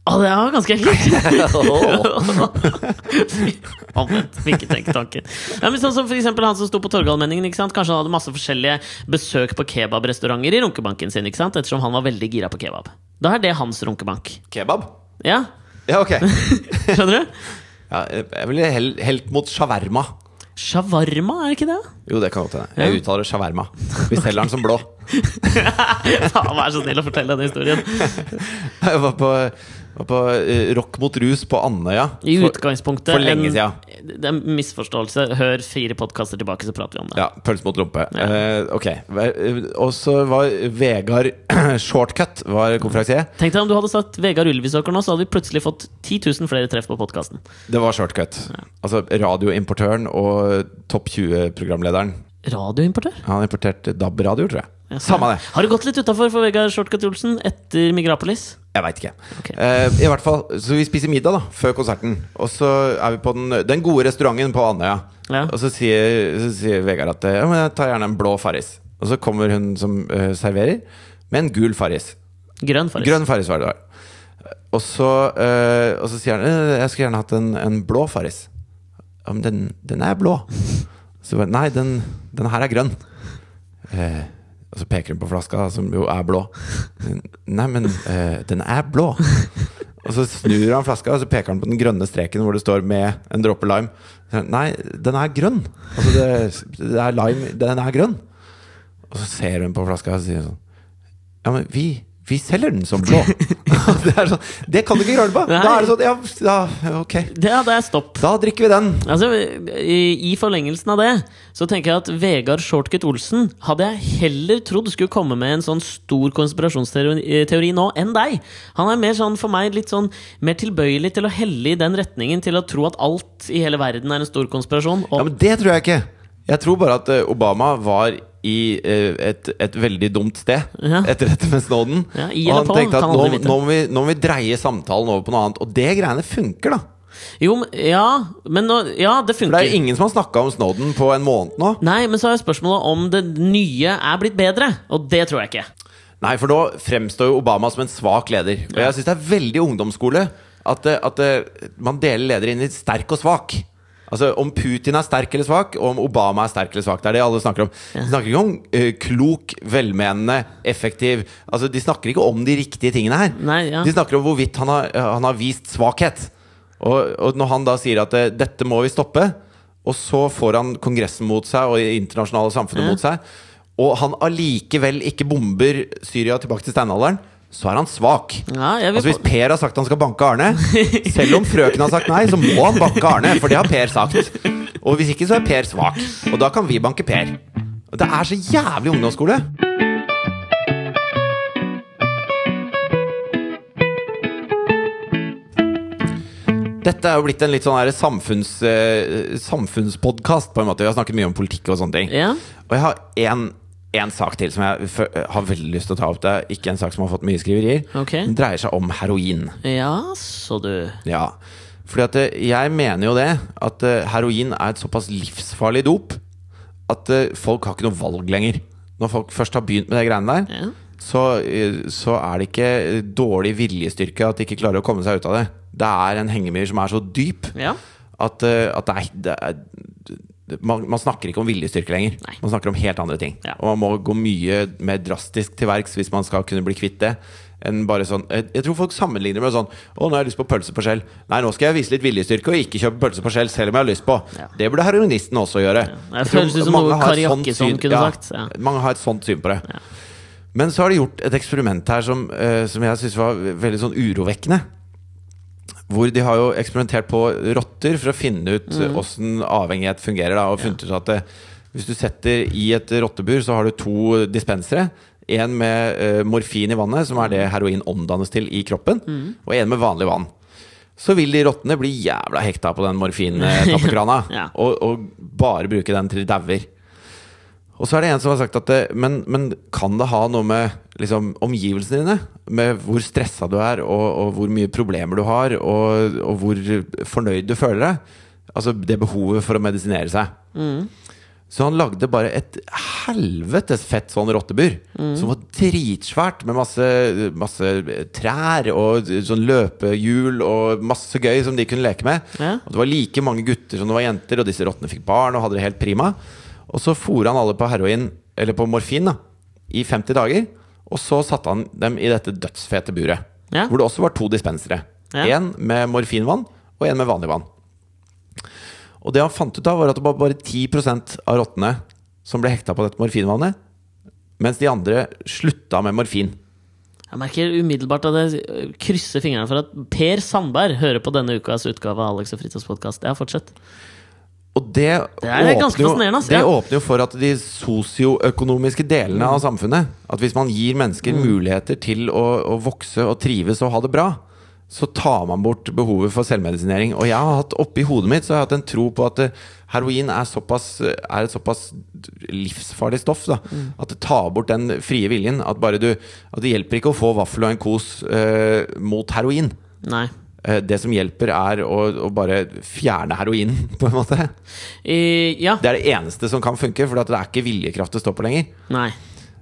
Å, det var ganske ekkelt! Åh. Omvendt. Ikke tenk tanken. Ja, men sånn som for eksempel han som sto på Torgallmenningen. ikke sant? Kanskje han hadde masse forskjellige besøk på kebabrestauranter i runkebanken sin, ikke sant? ettersom han var veldig gira på kebab. Da er det hans runkebank. Kebab? Ja, Ja, ok. skjønner du? Ja, jeg ville hel- helt mot shawarma. Shawarma, er det ikke det? Jo, det kan godt hende. Jeg uttaler shawarma. Vi selger den som blå. Faen, vær så snill å fortelle denne historien. Jeg var på, var på eh, Rock mot rus på Andøya. I For- utgangspunktet for lenge siden. en, Det er en misforståelse. Hør fire podkaster tilbake, så prater vi om det. Ja, pølse mot lompe. Eh, ok. Ve- Og så var Vegard Shortcut var konferansier. Tenk deg om du hadde sagt Vegard Ulvisåker nå, så hadde vi plutselig fått 10 000 flere treff på podkasten. Det var Shortcut. Altså radioimportøren og topp 20-programlederen. Radioimportør? Han importerte DAB-radio, tror jeg. Samme det. Har det gått litt utafor for Vegard Shortcut Olsen etter Migrapolis? Jeg veit ikke. Ok. Eh, I hvert fall, Så vi spiser middag da før konserten. Og så er vi på den, den gode restauranten på Andøya. Ja. Og så sier, så sier Vegard at eh, ja, men jeg tar gjerne en blå Farris. Og så kommer hun som eh, serverer, med en gul Farris. Grønn, faktisk. Grønn Farris var det det var. Og så, eh, og så sier han «Eh, Jeg skulle gjerne hatt en, en blå Farris. Ja, men den, den er blå. Så bare Nei, den, den her er grønn. Eh, og så peker hun på flaska, da, som jo er blå. Nei, men eh, den er blå. Og så snur han flaska og så peker han på den grønne streken hvor det står med en dråpe lime. Så, Nei, den er grønn. Altså det, det er lime, den er grønn. Og så ser hun på flaska og sier sånn Ja, men vi, vi selger den som blå. det, er sånn, det kan du ikke grøle på! Da er det sånn Ja, da, ok. Det, ja, det er stopp. Da drikker vi den. Altså, i, I forlengelsen av det så tenker jeg at Vegard Shortcut Olsen hadde jeg heller trodd skulle komme med en sånn stor konspirasjonsteori eh, teori nå, enn deg. Han er mer sånn, for meg litt sånn mer tilbøyelig til å helle i den retningen, til å tro at alt i hele verden er en stor konspirasjon. Og, Ja, men det tror jeg ikke. Jeg tror bare at eh, Obama var i eh, et, et veldig dumt sted Ja. etter dette med Snowden. Ja, i og eller han på, tenkte at kan nå, aldri vite. nå, må vi, nå må vi dreie samtalen over på noe annet. Og det greiene funker, da. Jo, men- ja, men nå, ja, det For det funker. er jo ingen som har snakka om Snowden på en måned nå. Nei, men så er spørsmålet om det nye er blitt bedre, og det tror jeg ikke. Nei, for nå fremstår jo Obama som en svak leder. Og jeg syns det er veldig ungdomsskole at, eh, at eh, man deler ledere inn i sterk og svak. Altså Om Putin er sterk eller svak, og om Obama er sterk eller svak. Det er det alle snakker om. De snakker ikke om eh, klok, velmenende, effektiv Altså De snakker ikke om de riktige tingene her. Nei, ja. De snakker om hvorvidt han har, eh, han har vist svakhet. Og, og når han da sier at eh, dette må vi stoppe, og så får han Kongressen mot seg og det internasjonale samfunnet mot seg, og han allikevel ikke bomber Syria tilbake til steinalderen, så er han svak. Ja, jeg vil Altså Hvis på- Per har sagt han skal banke Arne, selv om frøken har sagt nei, så må han banke Arne, for det har Per sagt. Og hvis ikke, så er Per svak. Og da kan vi banke Per. Og Det er så jævlig ungdomsskole! Dette er jo blitt en litt sånn her samfunns, eh, samfunnspodkast, på en måte. Vi har snakket mye om politikk og sånne ting. Ja. Og jeg har én en sak til som jeg fø- har veldig lyst til å ta opp. Det er ikke en sak som har fått mye skriverier. Ok. Den dreier seg om heroin. Ja, så du. Ja, fordi at eh, jeg mener jo det At eh, heroin er et såpass livsfarlig dop At eh, folk har ikke noe valg lenger Når folk først har begynt med det greiene der Ja. så, eh, så er det ikke eh, dårlig viljestyrke At de ikke klarer å komme seg ut av det Det er en hengemyr som er så dyp Ja. At, eh, at det er, det er det- man, man snakker ikke om viljestyrke lenger Nei. Man snakker om helt andre ting Ja. Og man må gå mye mer drastisk til verks Hvis man skal kunne bli kvitt det enn bare sånn, jeg, jeg tror folk sammenligner med sånn Å, nå har jeg lyst på pølse på skjell Nei, nå skal jeg vise litt viljestyrke og ikke kjøpe pølse på skjell Selv om jeg har lyst på Ja. Det burde heroinisten også gjøre Ja. Det Jeg tror føles ut som mange noe har et Kari sånt Jakkesson syn- kunne ja, sagt, ja. Mange har et sånt syn på det Men så har de gjort et eksperiment her Som, eh, som jeg synes var veldig sånn urovekkende hvor de har jo eksperimentert på rotter for å finne ut eh, åssen avhengighet fungerer. Da, og funnet ut at eh, hvis du setter i et rottebur, så har du to dispensere. En med eh, morfin i vannet, som er det heroin omdannes til i kroppen. Og en med vanlig vann. Så vil de rottene bli jævla hekta på den morfintappekrana. Ja. og, og bare bruke den til de dauer. Og så er det en som har sagt at eh, men, men kan det ha noe med liksom, omgivelsene dine? Med hvor stressa du er, og, og hvor mye problemer du har, og, og hvor fornøyd du føler deg? Altså det behovet for å medisinere seg. Mm. Så han lagde bare et helvetes fett sånn rottebur. Mm. Som var dritsvært, med masse, masse trær og sånn løpehjul og masse gøy som de kunne leke med. Ja. Og det var like mange gutter som det var jenter, og disse rottene fikk barn og hadde det helt prima. Og så fôra han alle på heroin, eller på morfin, da, i 50 dager. Og så satte han dem i dette dødsfete buret, Ja. hvor det også var to dispensere. Én Ja. med morfinvann, og én med vanlig vann. Og det han fant ut av, var at det var bare 10 av rottene som ble hekta på dette morfinvannet, mens de andre slutta med morfin. Jeg merker umiddelbart at jeg øh, krysser fingrene for at Per Sandberg hører på denne ukas utgave av Alex og Fritjofs podkast. Ja, fortsett. Og det, er ganske jo, fascinerende, ass, det ja. åpner jo for at de sosioøkonomiske delene av Mm. samfunnet At hvis man gir mennesker muligheter til å, å vokse og trives og ha det bra, så tar man bort behovet for selvmedisinering. Og jeg har hatt oppi hodet mitt Så har jeg hatt en tro på at eh, heroin er, såpass, er et såpass livsfarlig stoff da, Mm. at det tar bort den frie viljen. At, bare du, at det hjelper ikke å få vaffel og en kos eh, mot heroin. Nei. Eh, det som hjelper, er å, å bare fjerne heroinen, på en måte. I, ja. Det er det eneste som kan funke, for det er ikke viljekraft det står på lenger. Nei.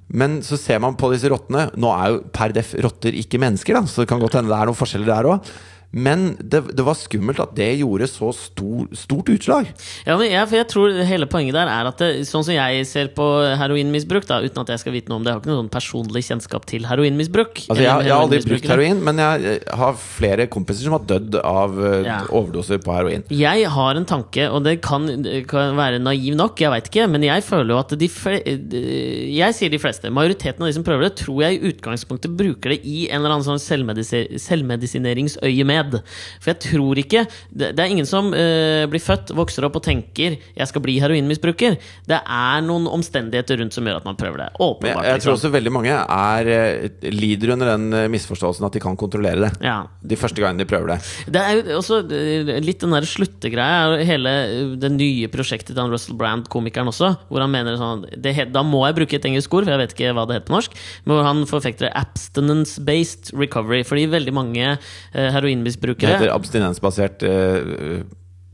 Men så ser man på disse rottene Nå er jo per def rotter ikke mennesker, da, så det kan godt hende det er noen forskjeller der òg. Men det, det var skummelt at det gjorde så stor, stort utslag. Ja, men jeg, for jeg tror hele poenget der er at det, sånn som jeg ser på heroinmisbruk, da, uten at jeg skal vite noe om det, jeg har ikke noe sånn personlig kjennskap til heroinmisbruk. Altså, jeg, eller jeg har aldri brukt heroinmisbrukere. heroin, men jeg eh, har flere kompiser som har dødd av eh, Ja. overdoser på heroin. Jeg har en tanke, og det kan, kan være naiv nok, jeg veit ikke, men jeg føler jo at de fle de- Jeg sier de fleste. Majoriteten av de som prøver det, tror jeg i utgangspunktet bruker det i en eller annen sånn selvmedisi selvmedisineringsøyemed. For jeg tror ikke Det, det er ingen som eh, blir født, vokser opp og tenker 'jeg skal bli heroinmisbruker'. Det er noen omstendigheter rundt som gjør at man prøver det. Men jeg, Åpenbart. jeg tror liksom. også veldig mange er, eh, lider under den eh, misforståelsen at de kan kontrollere det. Ja. De første gangene de prøver det. Det er jo også eh, litt den der sluttegreia. er jo Hele eh, det nye prosjektet til han Russell Brand-komikeren også. Hvor han mener sånn det het, Da må jeg bruke et engelsk ord, for jeg vet ikke hva det heter på norsk. Men hvor han forfekter abstinence-based recovery. Fordi veldig mange eh, Det heroinmisbrukere heter abstinensbasert eh,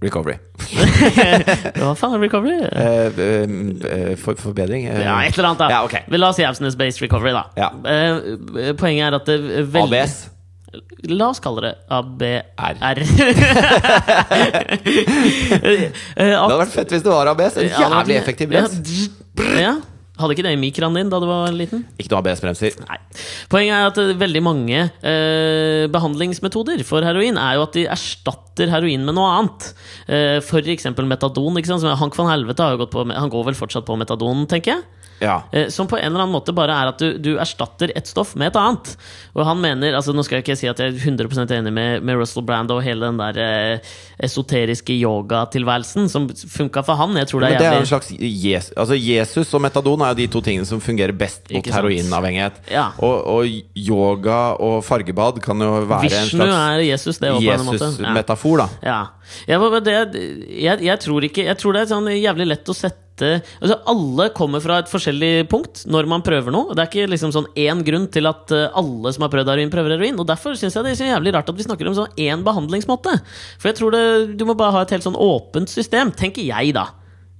recovery. Hva faen er recovery? Eh, eh, for, forbedring? eh, Ja, et eller annet, da. Ja, ok. Men La oss si abstinence-based recovery, da. Ja. Eh, Poenget er at det eh, veldig ABS. La oss kalle det ABR. R. Eh, Det hadde vært fett hvis det var ABS. En Ja, det hadde jævlig vært- effektiv brems. Ja, ja. Hadde ikke det i mikroen din da du var liten? Ikke noe ABS-bremser. Nei. Poenget er at eh, veldig mange eh, behandlingsmetoder for heroin er jo at de erstatter heroin med noe annet. Eh, for eksempel metadon. Ikke sant? Som Hank van Helvete har jo gått på med- Han går vel fortsatt på metadon, tenker jeg? Ja. Eh, Som på en eller annen måte bare er at du, du erstatter et stoff med et annet. Og han mener, altså Nå skal jeg ikke si at jeg er 100 enig med, med Russell Brand og hele den der eh, esoteriske yogatilværelsen som funka for han. Jeg tror det Men er det er jo en jævlig slags Jesus, altså Jesus og metadon er jo de to tingene som fungerer best mot Ikke sant? heroinavhengighet. Ja. Og, og yoga og fargebad kan jo være Vishnu en er Jesus, det òg, på en måte. slags Jesus-metafor, da. Ja. Jeg, var- det, jeg, jeg tror ikke Jeg tror det er sånn jævlig lett å sette Altså Alle kommer fra et forskjellig punkt når man prøver noe. Det er ikke liksom sånn én grunn til at eh, alle som har prøvd heroin, prøver heroin. Og Derfor syns jeg det er så jævlig rart at vi snakker om sånn én behandlingsmåte. For jeg tror det, du må bare ha et helt sånn åpent system, tenker jeg, da.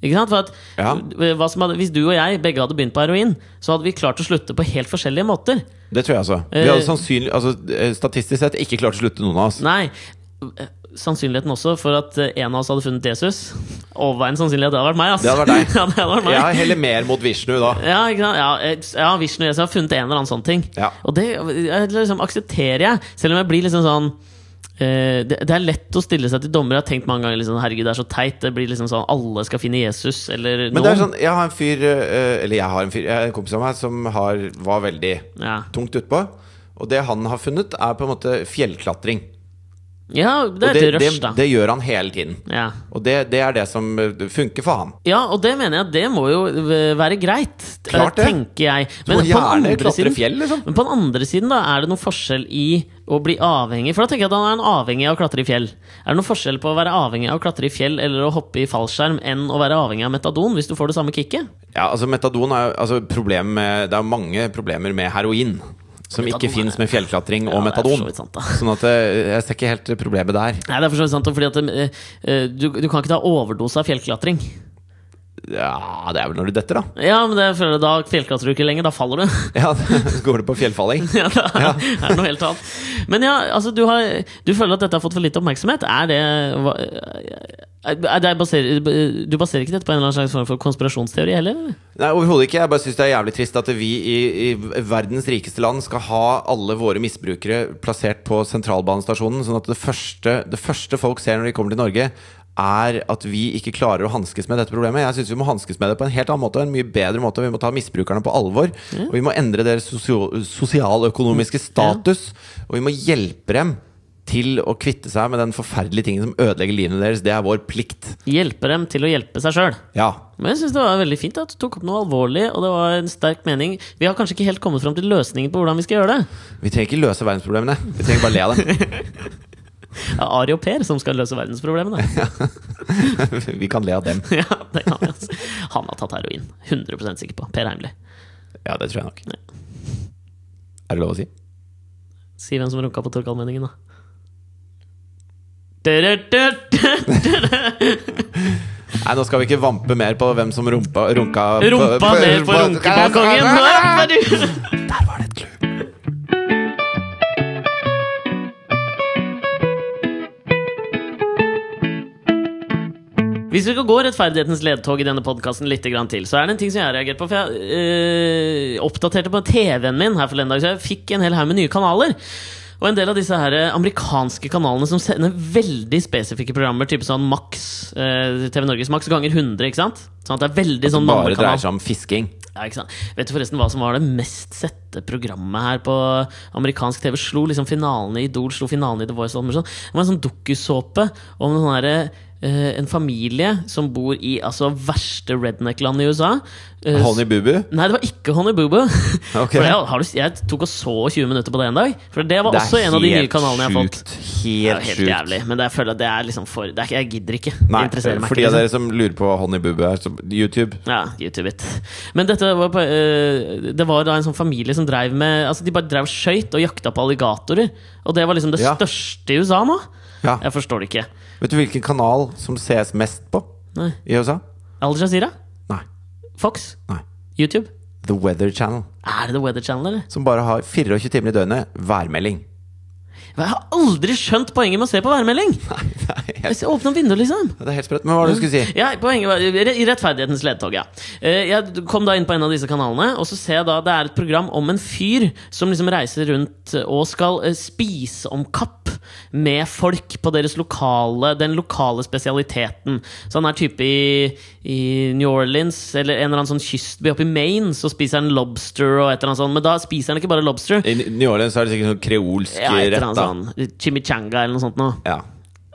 Ikke sant? For at, Ja. hva som hadde, hvis du og jeg begge hadde begynt på heroin, så hadde vi klart å slutte på helt forskjellige måter. Det tror jeg altså. Vi Eh, hadde sannsynlig, altså, eh, statistisk sett ikke klart å slutte noen av oss. Nei. Sannsynligheten også for at eh, en av oss hadde funnet Jesus. Overveiende sannsynlighet. Det hadde vært meg, ass. Det hadde vært deg. ja, det hadde vært meg. Jeg heller mer mot Vishnu da. Ja, ikke sant? ja, eh, ja Vishnu og Jesus har funnet en eller annen sånn ting. Ja. Og det eh, liksom, aksepterer jeg, selv om jeg blir liksom sånn eh, det, det er lett å stille seg til dommer. Jeg har tenkt mange ganger liksom, Herregud, det er så teit. Det blir liksom sånn Alle skal finne Jesus, eller Men det noen. er sånn, jeg har en fyr eh, Eller jeg har en fyr, jeg har en kompis av meg som har, var veldig ja. tungt utpå. Og det han har funnet, er på en måte fjellklatring. ja, det Og er det, til det, rush, da. det gjør han hele tiden. ja. Og det, det er det som eh, funker for han. ja, og det mener jeg at det må jo eh, være greit. Klart det. Tenker jeg. Du må på den gjerne andre klatre siden- fjell, liksom. Men på den andre siden, da, er det noen forskjell i å bli avhengig? For da tenker jeg at han er en avhengig av å klatre i fjell. Er det noen forskjell på å være avhengig av å klatre i fjell eller å hoppe i fallskjerm enn å være avhengig av metadon, hvis du får det samme kicket? Ja, altså metadon er jo altså, problem med, Det er mange problemer med heroin som Metadon ikke er- fins med fjellklatring Ja, og det er for metadon. så vidt sant, da. Sånn at eh, jeg ser ikke helt problemet der. Nei, det er for så vidt sant, og fordi at eh, eh, du, du kan ikke ta overdose av fjellklatring. Ja, det er vel når du detter, da. Ja, men det føler jeg da fjellklatrer du ikke lenger, da faller du. Ja, Så går du på fjellfalling. ja, det er, er noe helt annet. Men ja, altså, du, har, du føler at dette har fått for lite oppmerksomhet. Er det, hva, er det baserer, Du baserer ikke dette på en eller annen slags form for konspirasjonsteori heller? eller? Nei, overhodet ikke. Jeg bare syns det er jævlig trist at vi i, i verdens rikeste land skal ha alle våre misbrukere plassert på sentralbanestasjonen, sånn at det første, det første folk ser når de kommer til Norge, er at vi ikke klarer å hanskes med dette problemet. Jeg syns vi må hanskes med det på en helt annen måte, en mye bedre måte. Vi må ta misbrukerne på alvor. Og vi må endre deres sosio sosialøkonomiske status. Og vi må hjelpe dem til å kvitte seg med den forferdelige tingen som ødelegger livet deres. Det er vår plikt. Hjelpe dem til å hjelpe seg sjøl. Ja. Men jeg synes det var veldig fint at du tok opp noe alvorlig, og det var en sterk mening. Vi har kanskje ikke helt kommet fram til løsningen på hvordan vi skal gjøre det. Vi trenger ikke løse verdensproblemene. Vi trenger bare le av dem. Det er Ari og Per som skal løse verdensproblemene. Vi kan le av dem. ja, det kan vi, altså. Han har tatt heroin. 100 sikker på. Per Heimli. Ja, det tror jeg nok. Er det lov å si? Si hvem som runka på Torgallmenningen, da. Du-du-du-du. Nei, nå skal vi ikke vampe mer på hvem som rumpa, runka Rumpa ned på runkebalkongen! Nå er du ferdig. Der var det et clou. Hvis vi skal gå rettferdighetens ledtog i denne podkasten litt grann til, så er det en ting som jeg har reagert på. For jeg eh, oppdaterte på TV-en min her forleden dag, så jeg fikk en hel haug med nye kanaler. Og en del av disse her eh, amerikanske kanalene som sender veldig spesifikke programmer, type sånn Max, eh, TV Norges Max ganger 100, ikke sant? Sånn at det er veldig sånn Bare dreier mammakanal. seg om fisking. Ja, ikke sant? Vet du forresten hva som var det mest sette programmet her på amerikansk TV? Slo liksom finalen i Idol, slo finalen i The Voice og alt mulig sånt. Det var en sånn dukkusåpe om noen her, eh, en familie som bor i altså verste redneck-land i USA. Eh, Honey Boo Boo? Nei, det var ikke Honey Boo Boo. Ok. For jeg, har du, jeg tok og så 20 minutter på det en dag. For det var Det er også en av de nye helt kanalene jeg har fått. sjukt. Det er Helt, jo helt sjukt. jævlig, men det, jeg føler at det er liksom for det er, ikke- Jeg gidder ikke. Nei, det interesserer meg for de ikke. av liksom. dere som lurer på hva Honey Boo Boo er, så YouTube Ja, YouTube it. Men dette var på, eh, det var da en sånn familie som drev med Altså De bare drev skøyt og jakta på alligatorer. Og det var liksom det Ja. største i USA nå. Ja. Jeg forstår det ikke. Vet du hvilken kanal som sees mest på Nei. i USA? Al Jazeera? Nei. Fox? Nei. YouTube? The Weather Channel. Er det The Weather Channel, eller? Som bare har 24 timer i døgnet værmelding. Jeg har aldri skjønt poenget med å se på værmelding! Nei, det er helt, Hvis jeg åpner vinduet, liksom. det er helt sprøtt. Men hva var det du skulle si? Ja, poenget var I rettferdighetens ledtog, ja. Eh, Jeg kom da inn på en av disse kanalene, og så ser jeg da det er et program om en fyr som liksom reiser rundt og skal eh, spise om kapp med folk på deres lokale den lokale spesialiteten. Så han er type i, i New Orleans eller en eller annen sånn kystby oppe i Maine, så spiser han lobster og et eller annet sånt, men da spiser han ikke bare lobster. I New Orleans er det sikkert sånn kreolsk Ja, et eller rett, annet da. sånn chimichanga eller noe sånt noe. Ja.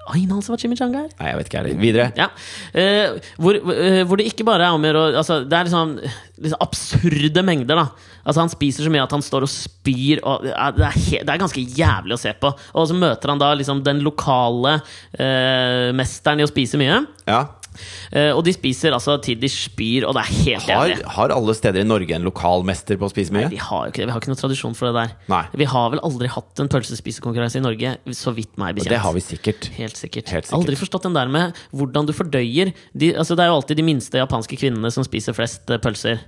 Aner altså hva chimichanga er? Nei, jeg vet ikke heller. Videre. Ja. Eh, hvor, eh, hvor det ikke bare er om å gjøre å- altså, Det er liksom, liksom absurde mengder. da Altså Han spiser så mye at han står og spyr. Og, ja, det, er he det er ganske jævlig å se på. Og så møter han da liksom den lokale eh, mesteren i å spise mye. Ja. Eh, og de spiser altså til de spyr, og det er helt Har, jævlig. har alle steder i Norge en lokalmester på å spise mye? Vi har jo ikke det, vi har ikke noen tradisjon for det der. Nei. Vi har vel aldri hatt en pølsespisekonkurranse i Norge, så vidt meg bekjent. Det har vi sikkert. Helt sikkert. Helt sikkert. Aldri forstått den der med hvordan du fordøyer de, altså Det er jo alltid de minste japanske kvinnene som spiser flest eh, pølser.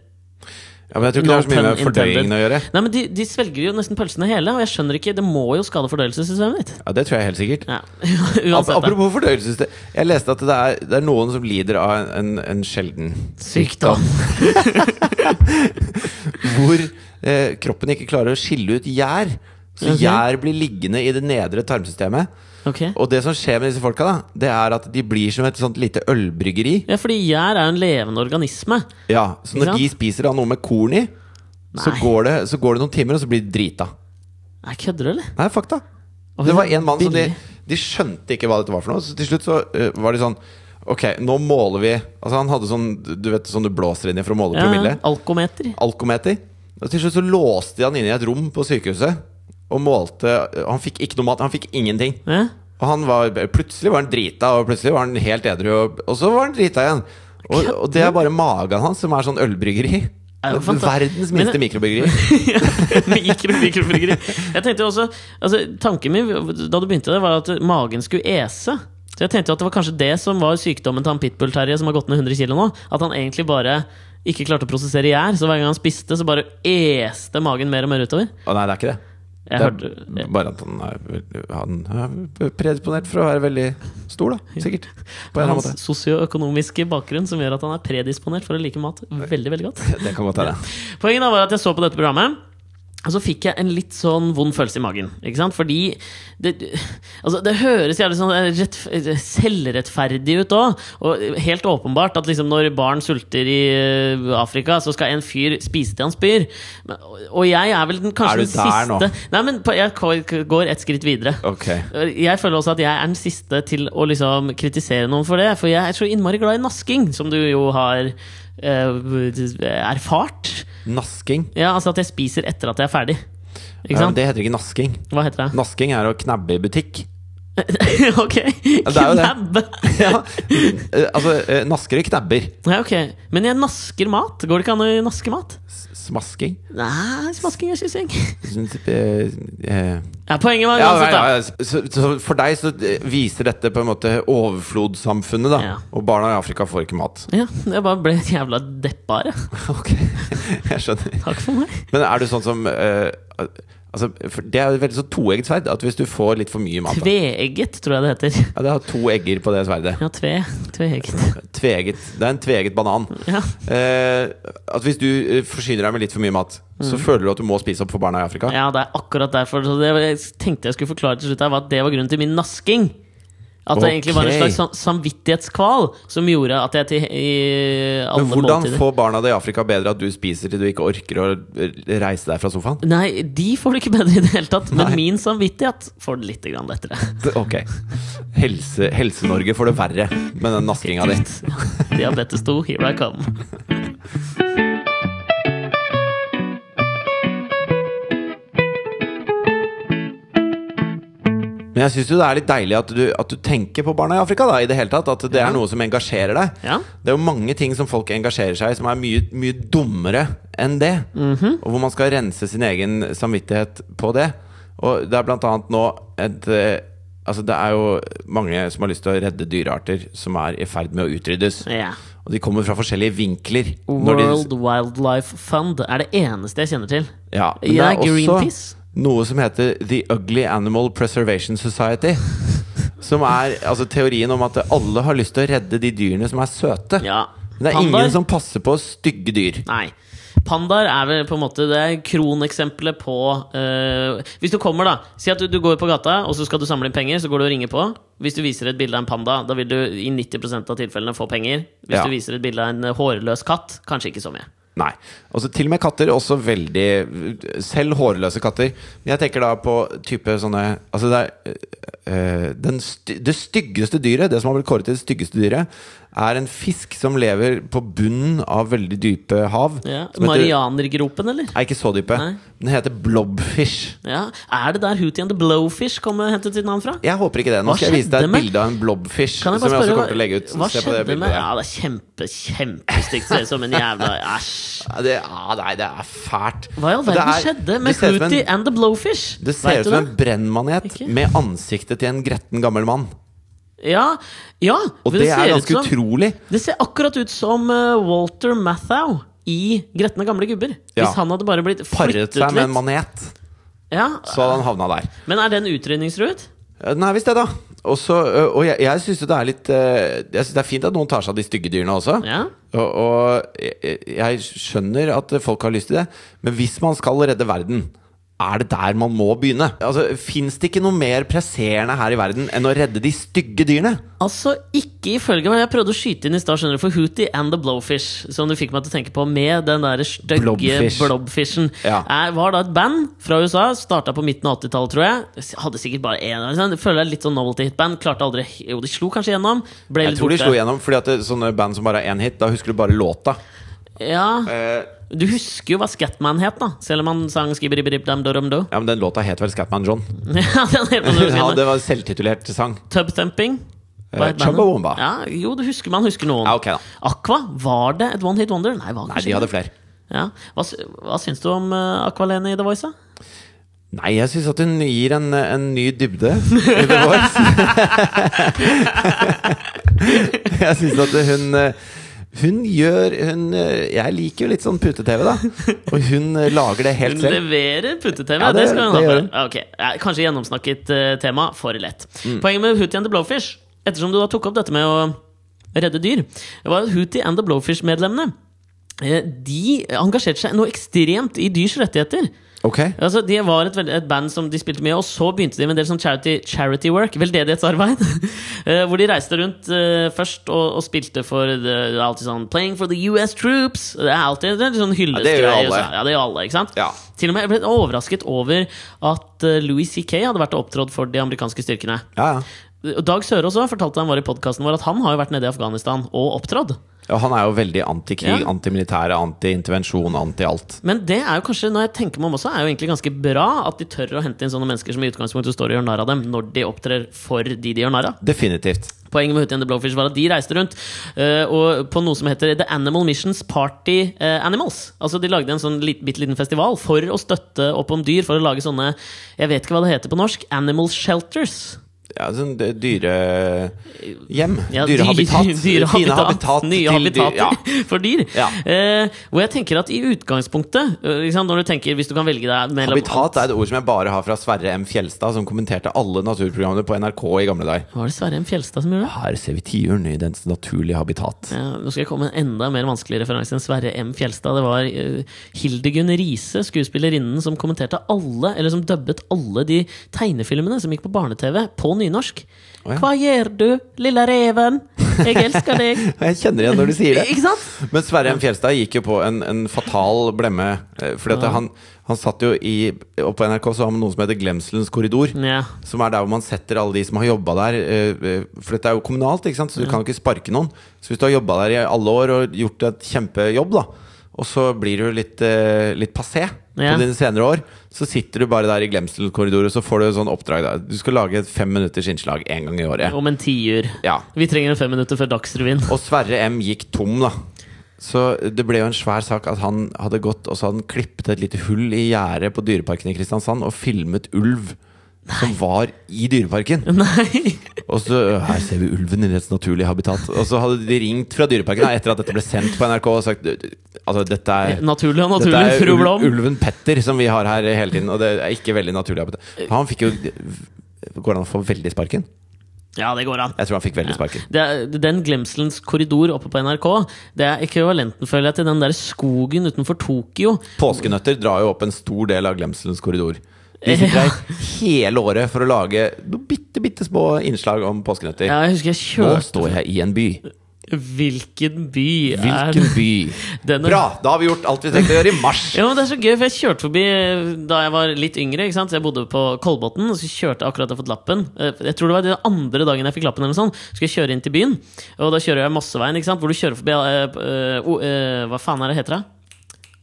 Ja, men jeg tror ikke det har så mye med Pun intended. fordøyingen å gjøre. Nei, men de, de svelger jo nesten pølsene hele, og jeg skjønner ikke Det må jo skade fordøyelsessystemet ditt. Ja, Det tror jeg helt sikkert. Ja, Ap- Uansett. da. Apropos fordøyelsessystem. Jeg leste at det er, det er noen som lider av en, en, en sjelden Sykdom. Hvor eh, kroppen ikke klarer å skille ut gjær. Så Ok. gjær blir liggende i det nedre tarmsystemet. Ok. Og det som skjer med disse folka, da, det er at de blir som et sånt lite ølbryggeri. Ja, fordi gjær er jo en levende organisme. Ja, Så Ikke når sant? de spiser da noe med korn i, så Nei. går, det, så går det noen timer, og så blir de drita. Jeg kødder, eller? Nei, fakta. Og Det hun var en mann som de, billig. de skjønte ikke hva dette var for noe. Så til slutt så eh, var de sånn Ok, nå måler vi Altså han hadde sånn du vet sånn du blåser inn i for å måle promille. Ja, alkometer. Alkometer. Og til slutt så låste de han inne i et rom på sykehuset og målte eh, Han fikk ikke noe mat. Han fikk ingenting. Ja. Og han var, plutselig var han drita, og plutselig var han helt edru, og, og så var han drita igjen. Og, og det er bare magen hans som er sånn ølbryggeri. Er jo fanta- Verdens Men- minste mikrobryggeri. mikro, mikrobryggeri. Jeg tenkte jo også altså, Tanken min da du begynte det, var at magen skulle ese. Så jeg tenkte jo at det var kanskje det som var sykdommen til han Pitbull-Terje som har gått ned 100 kg nå. At han egentlig bare ikke klarte å prosessere gjær. Så hver gang han spiste, så bare este magen mer og mer utover. Å nei, det er ikke det. det Jeg hørte er bare at han er, han er predisponert for å være veldig stor, da. Sikkert. På en eller annen hans måte. sosioøkonomiske bakgrunn som gjør at han er predisponert for å like mat veldig, veldig godt. Det kan godt hende. Poenget da var at jeg så på dette programmet og så fikk jeg en litt sånn vond følelse i magen. Ikke sant? Fordi det, altså det høres jævlig sånn rett, selvrettferdig ut òg. Og helt åpenbart at liksom når barn sulter i eh, Afrika, så skal en fyr spise til han spyr. Men- Og jeg er vel den Er du kanskje den der nå? siste Nei, men på- jeg går- går et skritt videre. Ok. Jeg føler også at jeg er den siste til å liksom kritisere noen for det. For jeg er så innmari glad i nasking, som du jo har eh, erfart. Nasking. Ja, altså at jeg spiser etter at jeg er ferdig. Ikke Ja, men sant? det heter ikke nasking. Hva heter det? Nasking er å knabbe i butikk. ok! det er jo det. Knabbe! Ja. Eh, Altså, eh, naskere knabber. Ja, ok. Men jeg nasker mat. Går det ikke an å naske mat? S- Smasking. Nei, smasking er kyssing. Eh, eh, Ja, poenget var Ja, ja, uansett, da. ja. Så, så for deg så eh, viser dette på en måte overflodssamfunnet, da. Ja. Og barna i Afrika får ikke mat. Ja, jeg bare ble jævla deppa her. jeg. Ok, jeg skjønner. Takk for meg. Men er du sånn som eh, altså, for Det er jo et veldig sånn toegget sverd. At hvis du får litt for mye mat da. Tveegget, tror jeg det heter. Ja, Det har to egger på det sverdet. Ja, tve. Tveegget. Tveegget. Det er en tveegget banan. Ja. Eh, at hvis du eh, forsyner deg med litt for mye mat, så føler du at du må spise opp for barna i Afrika. Mm. Ja, det er akkurat derfor. Så det jeg tenkte jeg skulle forklare til slutt her, var at det var grunnen til min nasking. At det egentlig var en Ok. slags sam- samvittighetskval som gjorde at jeg til i alle Men hvordan måltider får barna det i Afrika bedre at du spiser til du ikke orker å eh, reise deg fra sofaen? Nei, de får det ikke bedre i det hele tatt, men Nei. min samvittighet får det litt grann lettere. Ok. Helse- Helse-Norge får det verre med den naskinga di. Diabetes 2, here I come. Men jeg syns jo det er litt deilig at du, at du tenker på barna i Afrika, da, i det hele tatt. At det er noe som engasjerer deg. Ja. Det er jo mange ting som folk engasjerer seg i, som er mye, mye dummere enn det. Mhm. Og hvor man skal rense sin egen samvittighet på det. Og det er blant annet nå et eh, Altså, det er jo mange som har lyst til å redde dyrearter som er i ferd med å utryddes. Ja. Og de kommer fra forskjellige vinkler. når de- World Wildlife Fund er det eneste jeg kjenner til. Ja, Ja, det er også- Greenpeace. noe som heter The Ugly Animal Preservation Society. Som er altså, teorien om at alle har lyst til å redde de dyrene som er søte. Ja. Men det er Pandaer? ingen som passer på stygge dyr. Nei. Pandaer er vel på en måte det er kroneksempelet på eh, Hvis du kommer, da. Si at du, du går på gata, og så skal du samle inn penger. Så går du og ringer på. Hvis du viser et bilde av en panda, da vil du i 90 av tilfellene få penger. Hvis Ja. du viser et bilde av en hårløs katt, kanskje ikke så mye. Nei. Altså, til og med katter, også veldig Selv hårløse katter. Men jeg tenker da på type sånne Altså, det er øh, den sty Det styggeste dyret, det som har blitt kåret til det styggeste dyret, er en fisk som lever på bunnen av veldig dype hav. Ja. som heter- Marianergropen, eller? Nei, ikke så dype. Nei. Den heter blobfish. Ja. Er det der Hootie and the Blowfish kom og hentet sitt navn fra? Jeg håper ikke det. Nå Hva skal jeg vise skjedde deg et med- bilde av en blobfish. Kan som jeg bare jeg også spørre, kommer til å legge ut. hva Se på det skjedde med bildet. Ja, det er kjempe, kjempestygt. Ser ut som en jævla Æsj. Ja, det, ah, nei, det er fælt. Hva i all Det verden er- skjedde det med ser ut som en- Hootie and the Blowfish? Det ser Vet ut du som en brennmanet Ikke? med ansiktet til en gretten gammel mann. Ja, ja Og men det, er ser ut ganske som- utrolig. Det ser akkurat ut som eh, Walter Matthau i 'Gretne gamle gubber'. Ja. Hvis han hadde bare blitt Paret flyttet seg med en litt. manet, Ja. så hadde han havna der. Men er det en utrydningstruet? Eh, Den er visst det, da. Og, så, eh, og jeg, jeg syns jo det er litt eh, Jeg synes det er fint at noen tar seg av de stygge dyrene også. Ja. Og, og jeg, jeg skjønner at folk har lyst til det, men hvis man skal redde verden er det der man må begynne? Altså, Fins det ikke noe mer presserende her i verden enn å redde de stygge dyrene? Altså, ikke ifølge meg. Jeg prøvde å skyte inn i stad, skjønner du, for Hootie and the Blowfish, som du fikk meg til å tenke på, med den derre stygge Blobfish. blobfishen, Ja. er, var da et band fra USA. Starta på midten av 80-tallet, tror jeg. Hadde sikkert bare én. Liksom. Jeg Føler det er litt sånn novelty hit-band. Klarte aldri Jo, de slo kanskje gjennom. Ble Jeg litt tror de borte. slo igjennom, fordi at det, sånne band som bare har én hit, da husker du bare låta. Ja. Eh, Du husker jo hva Scatman het, da. Selv om han sang skibberibberibdamdoramdo. Ja, men den låta het vel Scatman John. ja, den het han jo Ja, selv. det var selvtitulert sang. Tubthumping. Eh, Hva het bandet? Chumbawamba. Ja, jo, du husker man husker noen. Ja, ok da Aqua, var det et one hit wonder? Nei, var Nei, de hadde flere. ja. hva, sy- hva syns du om uh, Aqualene i The Voice? da? Nei, jeg syns at hun gir en, en ny dybde i The Voice. jeg syns at hun eh, hun gjør hun, eh, Jeg liker jo litt sånn pute-TV, da. Og hun eh, lager det Hun helt selv. leverer putte-TV. Ja, det, det- skal hun det ha gjør for. Ja, ok. Ja, Kanskje gjennomsnakket eh, tema. For lett. Mm. Poenget med Hootie and the Blowfish, ettersom du da tok opp dette med å redde dyr, var at Hootie and the Blowfish-medlemmene eh, de engasjerte seg noe ekstremt i dyrs rettigheter. Ok. Altså, de var et, veld- et band som de spilte mye, og så begynte de med en del sånn charity, charity work, veldedighetsarbeid. eh, hvor de reiste rundt eh, først og, og spilte for det, det er alltid sånn 'Playing for the US Troops'. Det er alltid det er litt sånn hyllestgreier. det gjør alle. så- Ja, det gjør alle, ikke sant? Ja. Til og med jeg ble overrasket over at eh, Louis C.K. hadde vært og opptrådt for de amerikanske styrkene. Ja, ja. Og Dag Sørås også fortalte han var i podcasten vår at han har jo vært nede i Afghanistan og opptrådd. ja han er jo veldig antikrig, Ja. antimilitære, anti-intervensjon, anti-alt. Men det er jo kanskje, når jeg tenker meg om også, er jo egentlig ganske bra at de tør å hente inn sånne mennesker som i utgangspunktet står og gjør narr av dem, når de opptrer for de de gjør narr av. Definitivt. Poenget med Hootie and the Blowfish var at de reiste rundt eh, og på noe som heter The Animal Missions Party eh, Animals. Altså De lagde en sånn lit, bitte liten festival for å støtte opp om dyr, for å lage sånne Jeg vet ikke hva det heter på norsk. Animal shelters. Ja, sånn det- dyre Hjem. Ja, dyr- Dyrehabitat. Fine habitat. til nye dyr- habitater ja. for dyr. Ja. Eh, hvor jeg tenker at i utgangspunktet, eh, ikke sant, når du tenker hvis du kan velge deg mellom Habitat er et ord som jeg bare har fra Sverre M. Fjelstad, som kommenterte alle naturprogrammene på NRK i gamle dager. Var det Sverre M. Fjelstad som gjorde det? Her ser vi tiuren i dens naturlige habitat. Ja, nå skal jeg komme med en enda mer vanskelig referanse enn Sverre M. Fjelstad. Det var eh, Hildegunn Riise, skuespillerinnen, som kommenterte alle, eller som dubbet alle de tegnefilmene som gikk på barne-TV, på nynorsk. Å ja. Hva gjør du, lilla reven? Jeg elsker deg. Jeg kjenner igjen når du sier det. Ikke sant? Men Sverre M. Fjelstad gikk jo på en, en fatal blemme. eh, Fordi at han, han satt jo i Og på NRK så har man noe som heter Glemselens korridor. Ja. Som er der hvor man setter alle de som har jobba der. eh, eh, For dette er jo kommunalt, ikke sant? så du kan ikke sparke noen. Så hvis du har jobba der i alle år og gjort et kjempejobb, da, og så blir du litt, eh, litt passé Ja. på dine senere år, så sitter du bare der i glemselkorridoren og så får du et sånn oppdrag. Da. Du skal lage et fem minutters innslag én gang i året. Om en tiur. Ja. Vi trenger en fem minutter før Dagsrevyen. Og Sverre M gikk tom, da. Så det ble jo en svær sak at han hadde gått og så hadde han klippet et lite hull i gjerdet på Dyreparken i Kristiansand og filmet ulv som var i Dyreparken. Nei! Og så Her ser vi ulven i dets naturlige habitat. Og så hadde de ringt fra Dyreparken da, etter at dette ble sendt på NRK og sagt Altså, dette er Naturlig og dette naturlig, er fru ul- Blom. ulven Petter som vi har her hele tiden, og det er ikke veldig naturlig. Han fikk jo Går det an å få veldig sparken? Ja, det går an. Jeg tror han fikk veldig sparken. Det er, den glemselens korridor oppe på NRK, det er ekvivalenten, føler jeg, til den der skogen utenfor Tokyo. Påskenøtter drar jo opp en stor del av glemselens korridor. De sitter der hele året for å lage noen bitte, bitte små innslag om påskenøtter. Ja, jeg husker jeg Nå kjørte står jeg i en by. Hvilken by er Hvilken by? Den er- Bra! Da har vi gjort alt vi tenkte å gjøre i mars. Ja, men Det er så gøy, for jeg kjørte forbi da jeg var litt yngre. ikke sant? Så Jeg bodde på Kolbotn, og så kjørte jeg akkurat jeg hadde fått lappen. Eh, Jeg tror det var den andre dagen jeg fikk lappen, eller noe sånt. Så skal jeg kjøre inn til byen, og da kjører jeg Mosseveien, ikke sant? hvor du kjører forbi eh, eh, o- eh, Hva faen er det heter, da?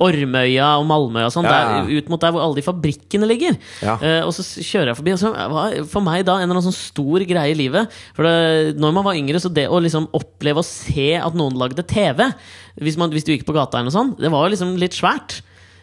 Ormøya og Malmøya og sånn. Ja, ja. der- Ut mot der hvor alle de fabrikkene ligger. Ja. Eh, og så s- kjører jeg forbi. Og så var for meg da en eller annen sånn stor greie i livet. For det, når man var yngre, så det å liksom oppleve og se at noen lagde TV Hvis, man, hvis du gikk på gata, eller noe sånt, det var jo liksom litt svært.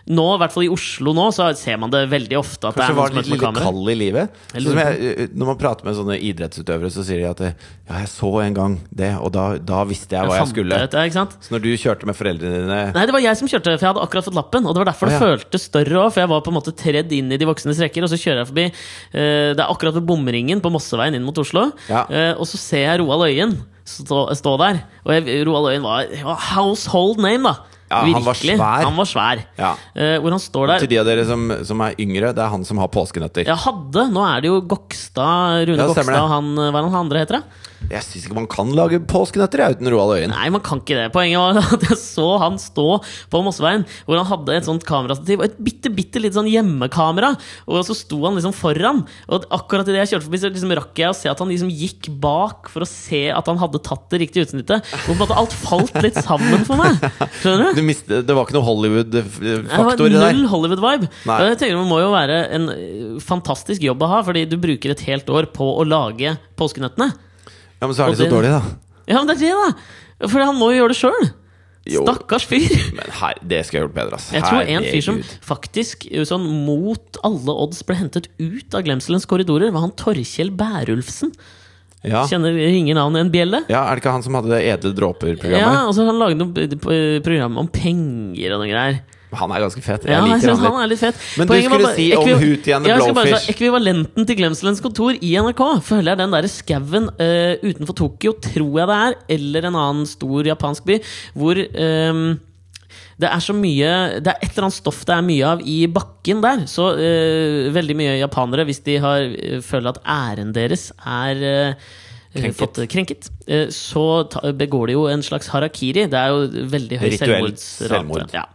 Nå, i hvert fall i Oslo nå, så ser man det veldig ofte. At Kanskje det er noen var som litt møter lille med kamera. kald i livet. Jeg Sånn som lurer jeg, når man prater med sånne idrettsutøvere, så sier de at eh, Ja, jeg så en gang det, og da, da visste jeg hva jeg fant skulle. ut det, ikke sant? Så når du kjørte med foreldrene dine Nei, det var jeg som kjørte, for jeg hadde akkurat fått lappen. Og det var derfor Å, ja. det føltes større òg, for jeg var på en måte tredd inn i de voksnes rekker. Og så kjører jeg forbi eh, Det er akkurat ved bomringen på Mosseveien inn mot Oslo. Ja. Eh, og så ser jeg Roald Øyen stå, stå der. Og jeg, Roald Øyen var, var household name, da. Ja, han var svær. Han var svær. Ja. Eh, hvor han står der Til de av dere som, som er yngre, det er han som har påskenøtter. Jeg hadde, Nå er det jo Gokstad, Rune Ja, stemmer Gokstad det. og han, eh, hva er det han andre heter? da? Jeg syns ikke man kan lage påskenøtter jeg, uten Roald Øyen. Nei, man kan ikke det. Poenget var at jeg så han stå på Mosseveien, hvor han hadde et sånt kamerastativ, og et bitte, bitte litt sånn hjemmekamera, og så sto han liksom foran, og akkurat i det jeg kjørte forbi, så liksom rakk jeg å se at han liksom gikk bak for å se at han hadde tatt det riktige utsnittet, og på en måte alt falt litt sammen for meg. Skjønner du? Du miste, det var ikke noe Det var Hollywood-faktor i deg. null Hollywood-vibe. Nei. Og jeg tenker Det må jo være en ø, fantastisk jobb å ha, fordi du bruker et helt år på å lage påskenøttene. Ja, Men så er de Og så det- dårlige, da. Ja, men det er det, da! For han må jo gjøre det sjøl. Jo. Stakkars fyr. Men her, det skal jeg gjort bedre, altså. Jeg tror en fyr som Herregud. faktisk ø, sånn mot alle odds ble hentet ut av glemselens korridorer, var han Torkjell Bærulfsen. ja. Kjenner ringer navnet en bjelle? ja, er det ikke han som hadde det Edle dråper-programmet? E? Ja, og så har Han lagde noe b- p- program om penger og noen greier. Han er ganske fet. Jeg Ja, jeg liker han synes litt. han er litt fet Men du Poenget var skulle bare- si om ekvi- Hootie and the Ja, jeg skal bare Blowfish. si Ekvivalenten til Glemselens kontor i NRK føler jeg den derre skauen eh, utenfor Tokyo, tror jeg det er, eller en annen stor japansk by, hvor ehm, det er så mye Det er et eller annet stoff det er mye av i bakken der. Så eh, veldig mye japanere, hvis de har, eh, føler at æren deres er eh, Krenket. Fått krenket. eh, Så ta, begår de jo en slags harakiri. Det er jo veldig høy Rituelt selvmordsrate. selvmord. Ja.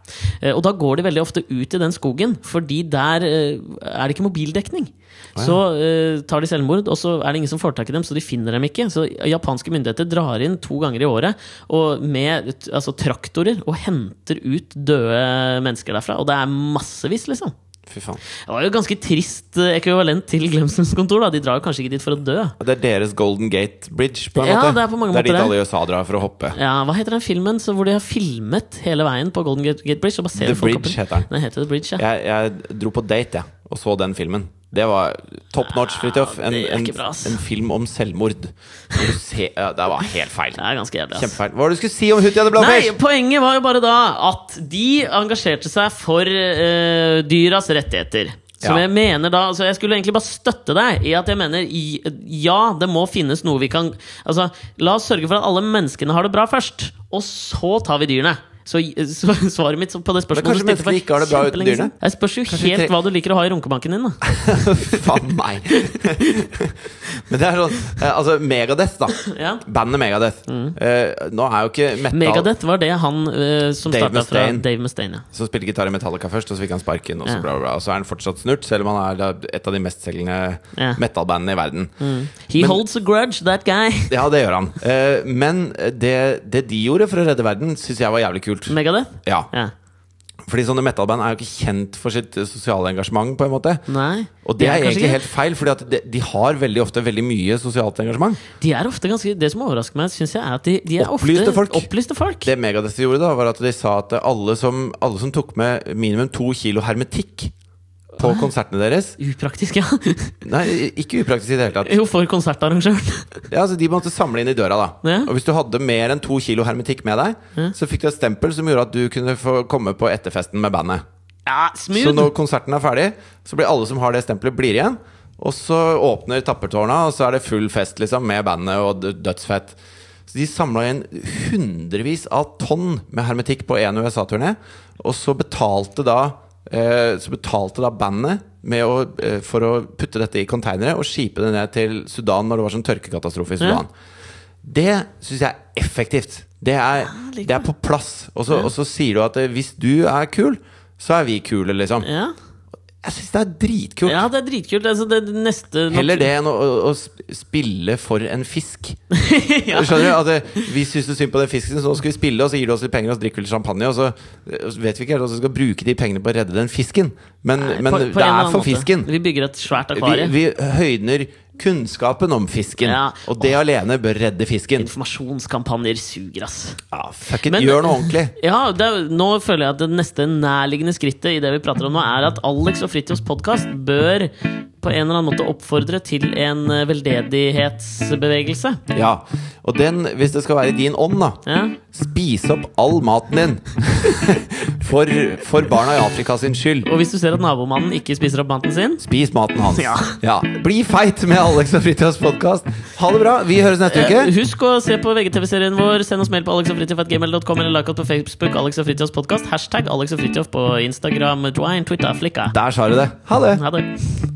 Eh, Og da går de veldig ofte ut i den skogen, fordi der eh, er det ikke mobildekning. Så eh, tar de selvmord, og så er det ingen som får tak i dem, så de finner dem ikke. Så japanske myndigheter drar inn to ganger i året og med t- altså, traktorer og henter ut døde mennesker derfra. Og det er massevis, liksom. Fy faen. Det var jo ganske trist eh, ekvivalent til Glemsens kontor. Da. De drar jo kanskje ikke dit for å dø. Det er deres Golden Gate Bridge, på en Ja, måte. det er på mange dit måter det. alle i USA drar for å hoppe. Ja, Hva heter den filmen så hvor de har filmet hele veien på Golden Gate, Gate Bridge? Og The Bridge heter den. Den heter The Bridge, ja. Jeg, jeg dro på date, jeg, og så den filmen. Det var top notch, Fridtjof. En, det er en, ikke bra, ass. en film om selvmord. Når du ser- ja, det var helt feil. Det er ganske jævlig, ass. Kjempefeil. Hva var det du skulle si om Hootie and the Nei, Blowfish? poenget var jo bare da at de engasjerte seg for eh, dyras rettigheter. Som Ja. jeg mener da Så jeg skulle egentlig bare støtte deg i at jeg mener i, ja, det må finnes noe vi kan Altså, la oss sørge for at alle menneskene har det bra først, og så tar vi dyrene. Så, så svaret mitt på det spørsmålet kanskje du stilte for menneskene ikke har det bra uten kjempelenge dyrene? siden- Jeg spørs jo Kanskje vi helt tre- hva du liker å ha i runkebanken din, da. Faen meg. Men det er sånn eh, Altså, Megadeth, da. Ja. Mm. Bandet Megadeth. Eh, nå er jo ikke metal Megadeth var det han eh, som Dave starta fra Mustaine. Dave Mustaine. Ja. Så spilte gitar i Metallica først, og så fikk han sparken. Og så, Ja. bla, bla, bla. Og så er han fortsatt snurt, selv om han er da et av de mestselgende Ja. Mm. metal-bandene i verden. He holds a grudge, that guy. Ja, det gjør han. Eh, men det, det de gjorde for å redde verden, syns jeg var jævlig kult. Megadeth? Ja, Ja. fordi sånne metal-band er jo ikke kjent for sitt eh, sosiale engasjement, på en måte. Nei. Og det Ja, er kanskje egentlig ikke. helt feil, Fordi at de, de har veldig ofte veldig mye sosialt engasjement. De er ofte ganske Det som overrasker meg, syns jeg, er at de, de er Opplyste ofte folk. opplyste folk. Det Megadeth gjorde, da var at de sa at alle som, alle som tok med minimum to kilo hermetikk, på konsertene deres. Upraktisk, ja. Nei, ikke upraktisk i det hele tatt. Jo, for konsertarrangøren. Ja, altså De måtte samle inn i døra, da. Ja. Og hvis du hadde mer enn to kilo hermetikk med deg, så fikk du et stempel som gjorde at du kunne få komme på etterfesten med bandet. Ja, Så smooth. når konserten er ferdig, så blir alle som har det stempelet, blir igjen. Og så åpner tappertårna, og så er det full fest liksom med bandet og d- dødsfett. Så de samla inn hundrevis av tonn med hermetikk på én USA-turné. Og så betalte da eh, Så betalte da bandet med å, eh, for å putte dette i konteinere og skipe det ned til Sudan når det var sånn tørkekatastrofe i Ja. Sudan. Det syns jeg er effektivt. Det er, likevel. det er på plass. Og så, og så sier du at eh, hvis du er kul, så er vi kule, liksom. Ja. Jeg syns det er dritkult. ja, det er dritkult. Altså, det neste Heller det enn å, å, å sp- spille for en fisk. ja. Skjønner du? At eh, Vi syns synd på den fisken, så nå skal vi spille, og så gir du oss litt penger, og så drikker vi litt champagne, og så eh, og så vet vi ikke helt hvordan vi skal bruke de pengene på å redde den fisken. Men, men På- på en det eller er annen for måte. fisken. Vi bygger et svært Vi, akvarie. vi høyner kunnskapen om fisken, Ja. og det alene bør redde fisken. Informasjonskampanjer suger, ass. Ja, fuck it, Men- gjør noe ordentlig. Ja, det er, nå føler jeg at det neste nærliggende skrittet i det vi prater om nå, er at Alex og Fritjofs podkast bør på en eller annen måte oppfordre til en eh, veldedighetsbevegelse. Ja. Og den, hvis det skal være i din ånd, da, Ja. spis opp all maten din. for, for barna i Afrika sin skyld. Og hvis du ser at nabomannen ikke spiser opp maten sin Spis maten hans. Ja. Bli feit med Alex og Fritjofs podkast. Ha det bra. Vi høres neste eh, uke. Husk å se på VGTV-serien vår. Send oss mail på alexogfritjof.gmail.com eller like oss på Facebook. Alex og Fritjofs podcast. Hashtag Alex og Fritjof på Instagram, Dwayne, Twitter, Flikka. Der sa du det. Ha det. Ha det.